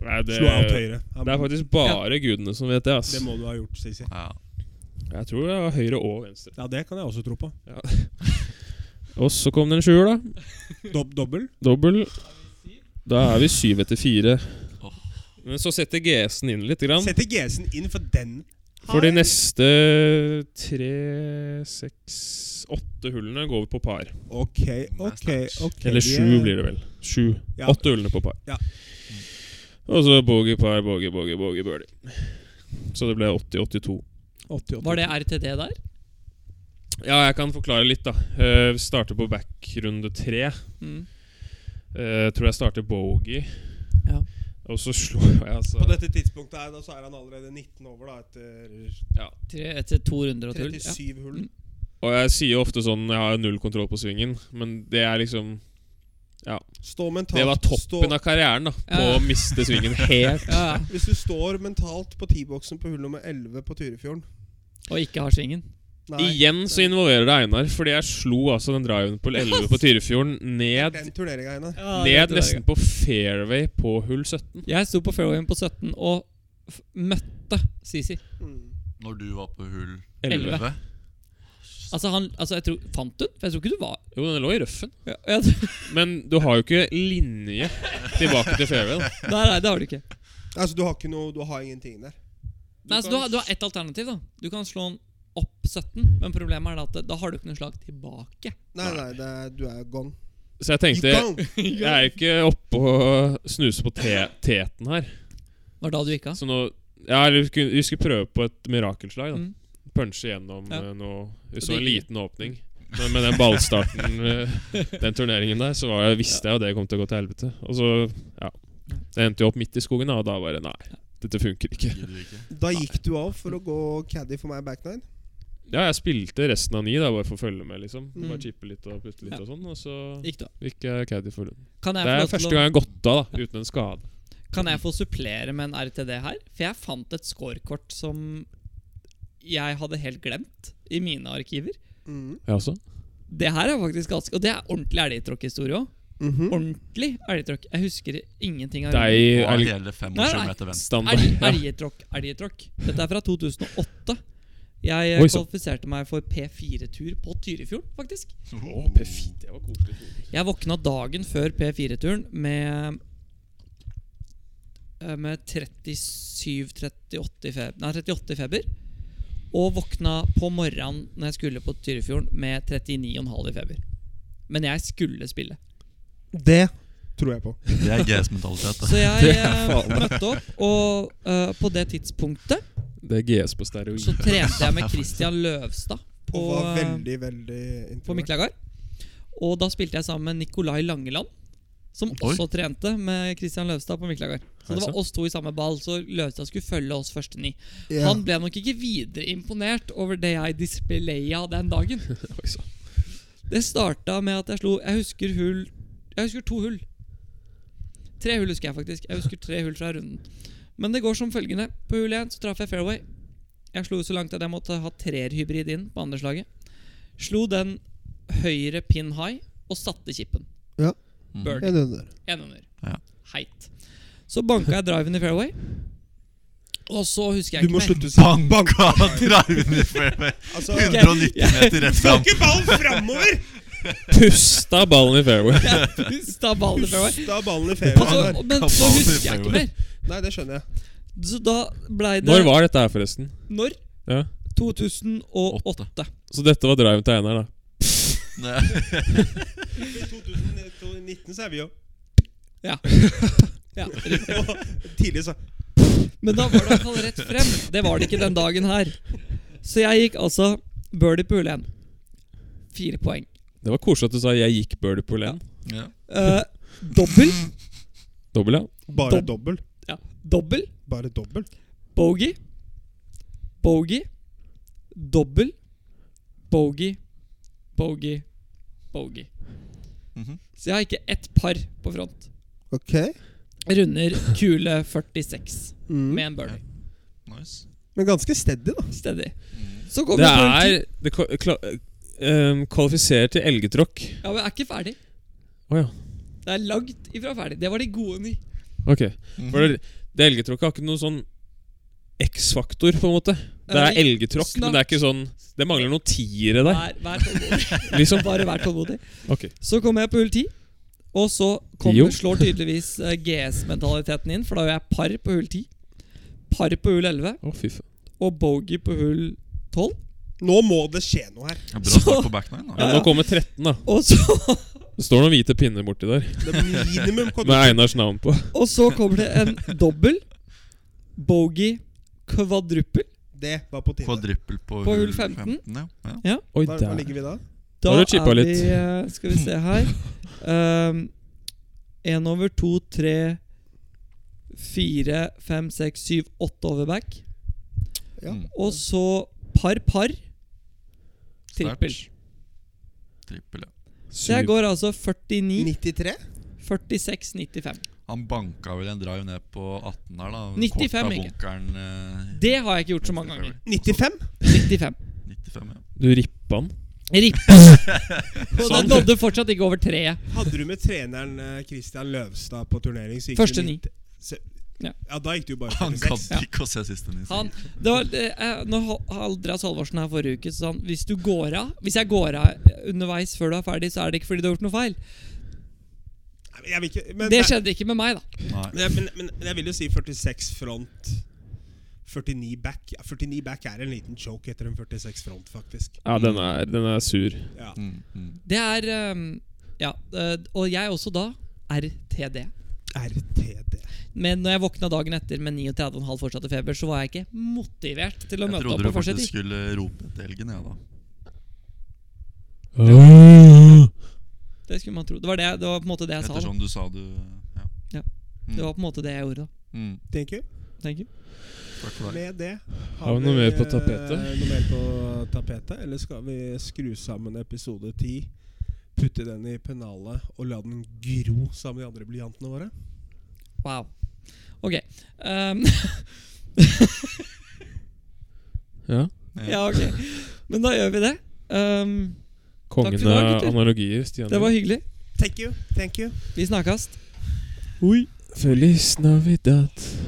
[SPEAKER 4] Nei, det,
[SPEAKER 5] Slå alt
[SPEAKER 4] det
[SPEAKER 5] høyre.
[SPEAKER 4] er faktisk bare gudene som vet det. ass
[SPEAKER 5] Det må du ha gjort, Sisi.
[SPEAKER 3] Ja.
[SPEAKER 4] Jeg tror det var høyre og venstre.
[SPEAKER 5] Ja, det kan jeg også tro på.
[SPEAKER 4] Og så kom det en sjuer, da.
[SPEAKER 5] Dob dobbel?
[SPEAKER 4] Dobbel. Da er vi syv etter fire.
[SPEAKER 3] Åh.
[SPEAKER 4] Men så setter GS-en inn litt. Grann.
[SPEAKER 5] Setter GS-en inn for den.
[SPEAKER 4] For de neste tre, seks, åtte hullene går vi på par.
[SPEAKER 5] Ok, ok, ok.
[SPEAKER 4] Eller
[SPEAKER 5] vi er-
[SPEAKER 4] sju blir det vel. Sju.
[SPEAKER 5] Ja.
[SPEAKER 4] Åtte hullene på par.
[SPEAKER 5] Ja.
[SPEAKER 4] Og så bogey, par, bogey, bogey, bogey, birdie. Så det ble 80-82.
[SPEAKER 5] 88.
[SPEAKER 2] Var det RTD der?
[SPEAKER 4] Ja, jeg kan forklare litt, da. Eh, Vi starter på back runde tre.
[SPEAKER 2] Mm.
[SPEAKER 4] Eh, Jeg tror jeg starter bogey.
[SPEAKER 2] Ja.
[SPEAKER 4] Og så slår jeg altså
[SPEAKER 5] På dette tidspunktet her, da, så er han allerede 19 over, da, etter
[SPEAKER 2] Tre, etter to runder og et hull. Ja.
[SPEAKER 5] 37 hull.
[SPEAKER 4] Mm. Og jeg sier jo ofte sånn Jeg har null kontroll på svingen, men det er liksom
[SPEAKER 5] Stå mentalt.
[SPEAKER 4] Det var
[SPEAKER 5] stå,
[SPEAKER 4] toppen av karrieren, da. På
[SPEAKER 2] Ja.
[SPEAKER 4] å miste svingen helt.
[SPEAKER 2] Ja, ja.
[SPEAKER 5] Hvis du står mentalt på T-boksen på hull nummer 11 på Tyrifjorden
[SPEAKER 2] Og ikke har svingen.
[SPEAKER 4] Igjen så involverer det Einar, fordi jeg slo altså den driven på 11 på Tyrifjorden ned,
[SPEAKER 5] Den turneringa, Einar.
[SPEAKER 4] ned nesten på fairway på hull 17.
[SPEAKER 2] Jeg sto på fairwayen på 17 og f møtte Sisi.
[SPEAKER 5] Mm.
[SPEAKER 3] Når du var på hull
[SPEAKER 2] Elleve.
[SPEAKER 3] 11
[SPEAKER 2] Altså, han altså jeg tror, Fant du den? For jeg tror ikke du var
[SPEAKER 4] Jo, den lå i røffen,
[SPEAKER 2] ja, jeg,
[SPEAKER 4] men du har jo ikke linje tilbake til fairway. da.
[SPEAKER 2] Nei, nei, det har du ikke.
[SPEAKER 5] Altså, du har ikke noe Du har ingenting der.
[SPEAKER 2] Nei, så du, har, du har ett alternativ. da Du kan slå den opp 17, men problemet er da at det- da har du ikke noe slag tilbake.
[SPEAKER 5] Nei, nei, det, er- du er gone.
[SPEAKER 4] Så jeg tenkte
[SPEAKER 5] You gone.
[SPEAKER 4] Jeg er jo ikke oppe og snuser på te teten her.
[SPEAKER 2] Var da du gikk av?
[SPEAKER 4] Så nå Ja, eller vi skulle, vi skulle prøve på et mirakelslag. da
[SPEAKER 2] Mm.
[SPEAKER 4] Punche gjennom
[SPEAKER 2] Ja.
[SPEAKER 4] eh, noe Vi
[SPEAKER 2] Og
[SPEAKER 4] så
[SPEAKER 2] det
[SPEAKER 4] en
[SPEAKER 2] gikk
[SPEAKER 4] liten åpning. Men med den ballstarten, eh, den turneringen der, så var jeg, visste jeg jo det kom til å gå til helvete. Og så, ja Det endte jo opp midt i skogen, da, og da bare Nei, dette funker ikke.
[SPEAKER 3] Gidder du ikke?
[SPEAKER 5] Da gikk du av for å gå caddy for meg back nine.
[SPEAKER 4] Ja, jeg spilte resten av ni, da, bare for å følge med, liksom.
[SPEAKER 2] Mm.
[SPEAKER 4] Bare chippe litt og putte litt
[SPEAKER 2] Ja.
[SPEAKER 4] og sånn, og så
[SPEAKER 2] Gikk du av?
[SPEAKER 4] gikk jeg caddy for Lund.
[SPEAKER 2] Kan jeg få
[SPEAKER 4] Det er
[SPEAKER 2] lov til
[SPEAKER 4] første
[SPEAKER 2] å-
[SPEAKER 4] gang jeg har gått av, da, uten en skade.
[SPEAKER 2] Kan jeg få supplere med en RTD her? For jeg fant et scorekort som jeg hadde helt glemt i mine arkiver.
[SPEAKER 5] Mm.
[SPEAKER 4] Jeg også.
[SPEAKER 2] Det her er faktisk ganske Og det er ordentlig elgtråkkhistorie òg.
[SPEAKER 5] Mhm.
[SPEAKER 2] Ordentlig elgtråkk. Jeg husker ingenting av
[SPEAKER 4] Deg
[SPEAKER 3] Og
[SPEAKER 4] er
[SPEAKER 3] hele fem
[SPEAKER 2] Nei,
[SPEAKER 3] år
[SPEAKER 2] nei.
[SPEAKER 3] meter venstre.
[SPEAKER 4] standard.
[SPEAKER 2] Elg- Elgetråkk, elgetråkk. Dette er fra 2008. Jeg eh,
[SPEAKER 4] Oi, så.
[SPEAKER 2] kvalifiserte meg for P4-tur på Tyrifjorden, faktisk.
[SPEAKER 4] Å, P4, det var koselig.
[SPEAKER 2] Jeg våkna dagen før P4-turen med eh, Med 37-38 i feber, nei, 38 i feber. Og våkna på morgenen når jeg skulle på Tyrifjorden med 39,5 i feber. Men jeg skulle spille.
[SPEAKER 5] Det tror jeg på.
[SPEAKER 3] Det er GS-mentalitet.
[SPEAKER 2] Så jeg eh, møtte opp, og eh, på det tidspunktet
[SPEAKER 4] Det er GS på steroid.
[SPEAKER 2] så trente jeg med Christian Løvstad på,
[SPEAKER 5] Og var
[SPEAKER 2] eh,
[SPEAKER 5] veldig, veldig
[SPEAKER 2] på
[SPEAKER 5] introvert.
[SPEAKER 2] Miklagard. Og da spilte jeg sammen med Nikolai Langeland, som
[SPEAKER 3] Oi.
[SPEAKER 2] også trente med Christian Løvstad på Miklagard. Så det
[SPEAKER 4] Hei sann.
[SPEAKER 2] var oss to i samme ball, så Løvstad skulle følge oss første ni.
[SPEAKER 5] Ja.
[SPEAKER 2] Han ble nok ikke videre imponert over det jeg displaya den dagen.
[SPEAKER 4] Oi, så.
[SPEAKER 2] Det starta med at jeg slo Jeg husker hull Jeg husker to hull. Tre hull husker jeg faktisk. Jeg husker tre hull fra runden. Men det går som følgende. På hull én så traff jeg fairway. Jeg slo så langt at jeg måtte ha trerhybrid inn på andre slaget. Slo den høyre pin high og satte chipen.
[SPEAKER 5] Ja.
[SPEAKER 3] Mhm.
[SPEAKER 2] Birdie.
[SPEAKER 5] Jeg døde der.
[SPEAKER 2] Én under.
[SPEAKER 3] Ja.
[SPEAKER 2] Heit. Så banka jeg driven i fairway. Og så husker jeg
[SPEAKER 5] Du må
[SPEAKER 2] ikke mer.
[SPEAKER 5] slutte å si
[SPEAKER 3] Banka driven i fairway!
[SPEAKER 5] altså,
[SPEAKER 3] 190 meter rett fram.
[SPEAKER 5] Ikke ballen framover!
[SPEAKER 4] Pusta ballen i fairway.
[SPEAKER 2] Pusta ballen i fairway.
[SPEAKER 5] Pusta ballen i
[SPEAKER 2] Og så,
[SPEAKER 5] fairwayen der.
[SPEAKER 2] men så husker jeg ikke mer.
[SPEAKER 5] Nei, det skjønner jeg.
[SPEAKER 2] Så da blei det
[SPEAKER 4] Når var dette her, forresten?
[SPEAKER 2] Når?
[SPEAKER 4] Ja.
[SPEAKER 2] 2008.
[SPEAKER 4] Så dette var driven til Einar, da.
[SPEAKER 5] I 2019 så er vi jo
[SPEAKER 2] Ja, riktig.
[SPEAKER 5] tidlig, så.
[SPEAKER 2] Men da var det i hvert fall rett frem. Det var det ikke den dagen her. Så jeg gikk altså birdie på hull 1. Fire poeng.
[SPEAKER 4] Det var koselig at du sa 'jeg gikk birdie på len'.
[SPEAKER 3] Ja.
[SPEAKER 2] Uh, dobbel.
[SPEAKER 4] Dobbel, ja.
[SPEAKER 5] Bare
[SPEAKER 2] Dob-
[SPEAKER 5] dobbel.
[SPEAKER 2] Ja. Dobbel.
[SPEAKER 5] Bare dobbel.
[SPEAKER 2] Bogey. Bogey. Dobbel. Bogey. Bogey. Bogey.
[SPEAKER 3] Mhm.
[SPEAKER 2] Så jeg har ikke ett par på front.
[SPEAKER 5] Ok.
[SPEAKER 2] Runder kule 46 med
[SPEAKER 5] Mm.
[SPEAKER 2] en birdie.
[SPEAKER 3] Nice.
[SPEAKER 5] Men ganske steady, da.
[SPEAKER 2] Steady.
[SPEAKER 3] Mm.
[SPEAKER 2] Så kommer
[SPEAKER 4] Det
[SPEAKER 2] på en ti-
[SPEAKER 4] er det kva- kla- ehm, Kvalifiserer til elgetråkk.
[SPEAKER 2] Ja, men jeg er ikke ferdig.
[SPEAKER 4] Å ja.
[SPEAKER 2] Det er langt ifra ferdig. Det var de gode ny.
[SPEAKER 4] Ok. For det, det elgetråkk har ikke noen sånn X-faktor, på en måte. Det er
[SPEAKER 2] Nei,
[SPEAKER 4] elgetråkk, men det er ikke sånn Det mangler noen tiere der.
[SPEAKER 2] Vær, vær tålmodig.
[SPEAKER 4] Liksom.
[SPEAKER 2] Bare vær tålmodig.
[SPEAKER 4] Ok.
[SPEAKER 2] Så kommer jeg på hull 10, og så
[SPEAKER 4] Jo.
[SPEAKER 2] kommer, slår tydeligvis eh, GS-mentaliteten inn, for da gjør jeg par på hull 10, par på hull 11
[SPEAKER 4] Å, fy faen.
[SPEAKER 2] og bogey på hull 12.
[SPEAKER 5] Nå må det skje noe her.
[SPEAKER 3] Ja, Bra start på back nine, da.
[SPEAKER 4] Ja, nå kommer 13, da.
[SPEAKER 2] Og så,
[SPEAKER 4] Det står noen hvite pinner borti der
[SPEAKER 5] Det er minimum
[SPEAKER 4] med Einars navn på.
[SPEAKER 2] og så kommer det en dobbel, bogey, kvadruppel.
[SPEAKER 5] Det var på tide.
[SPEAKER 3] Kvadrippel på,
[SPEAKER 2] På hull
[SPEAKER 3] hull
[SPEAKER 2] 15.
[SPEAKER 3] 15. ja. ja.
[SPEAKER 4] Oi,
[SPEAKER 5] Hva, hva
[SPEAKER 4] der.
[SPEAKER 5] ligger vi da?
[SPEAKER 2] Da
[SPEAKER 4] Har du chippa
[SPEAKER 2] er
[SPEAKER 4] litt?
[SPEAKER 2] vi eh, Skal vi se her. Én over to, tre, fire, fem, seks, syv, åtte over back.
[SPEAKER 5] Ja.
[SPEAKER 3] Mm.
[SPEAKER 2] Og så par-par. Trippel.
[SPEAKER 3] Sterkt. Trippel, ja.
[SPEAKER 2] Så jeg går altså 49,
[SPEAKER 5] 93?
[SPEAKER 2] 46, 95.
[SPEAKER 3] Han banka vel en drive ned på 18 her, da.
[SPEAKER 2] 95,
[SPEAKER 3] Korta
[SPEAKER 2] ikke?
[SPEAKER 3] bunkeren, eh,
[SPEAKER 2] Det har jeg ikke gjort så mange ganger.
[SPEAKER 5] 95?
[SPEAKER 2] 95.
[SPEAKER 3] 95, ja.
[SPEAKER 4] Du rippa den.
[SPEAKER 2] Rippes! Og den nådde fortsatt ikke over treet.
[SPEAKER 5] Hadde du med treneren eh, Christian Løvstad på turnering, så gikk
[SPEAKER 2] Første
[SPEAKER 5] du
[SPEAKER 2] ni.
[SPEAKER 5] nitt- se-
[SPEAKER 2] Ja.
[SPEAKER 5] Ja. da gikk du bare
[SPEAKER 3] Han kan
[SPEAKER 5] 46.
[SPEAKER 3] ikke å se siste nissen.
[SPEAKER 2] Han, det var, det, eh, når Hal- Haldras Halvorsen her forrige uke så sa han hvis du går av Hvis jeg går av underveis før du er ferdig, så er det ikke fordi du har gjort noe feil.
[SPEAKER 5] Nei, men Jeg vil ikke, men,
[SPEAKER 2] Det
[SPEAKER 5] det
[SPEAKER 2] skjedde ikke med meg, da.
[SPEAKER 3] Nei.
[SPEAKER 5] men, jeg- men, men, men jeg vil jo si 46 front. 49 back. Ja, 49 back er en liten choke etter en 46 front, faktisk.
[SPEAKER 4] Ja, den er, den er sur.
[SPEAKER 5] Ja.
[SPEAKER 3] Mm, mm.
[SPEAKER 2] Det er ehm, Ja. eh, Og jeg også da. RTD.
[SPEAKER 5] RTD.
[SPEAKER 2] Men når jeg våkna dagen etter med 39,5 fortsatte feber, så var jeg ikke motivert til å
[SPEAKER 3] Jeg
[SPEAKER 2] møte
[SPEAKER 3] trodde
[SPEAKER 2] opp
[SPEAKER 3] du
[SPEAKER 2] og fortsette.
[SPEAKER 3] faktisk skulle rope etter elgen, jeg, ja, da.
[SPEAKER 2] Det skulle man tro. Det var, det, det var på en måte det jeg sa. Da.
[SPEAKER 3] Ettersom du sa du Ja.
[SPEAKER 2] Ja.
[SPEAKER 3] Mm.
[SPEAKER 2] Det var på en måte det jeg gjorde da.
[SPEAKER 3] Mm.
[SPEAKER 5] Thank you.
[SPEAKER 2] Tenker.
[SPEAKER 3] Takk for deg.
[SPEAKER 5] Med det
[SPEAKER 4] Har vi noe mer på
[SPEAKER 5] eh,
[SPEAKER 4] tapetet?
[SPEAKER 5] Noe mer på tapetet? Eller skal vi skru sammen episode 10, putte den i pennalet og la den gro sammen med de andre blyantene våre?
[SPEAKER 2] Wow. Ok. ehm,
[SPEAKER 4] Ja.
[SPEAKER 2] ja, ok. Men da gjør vi det. Ehm, Takk
[SPEAKER 4] Kongen
[SPEAKER 2] for i dag,
[SPEAKER 4] av
[SPEAKER 2] gutter.
[SPEAKER 4] analogier, Stian.
[SPEAKER 2] det var hyggelig.
[SPEAKER 5] Thank you. Thank you.
[SPEAKER 2] Vi snakkes.
[SPEAKER 4] Oi. Feliz Navidad.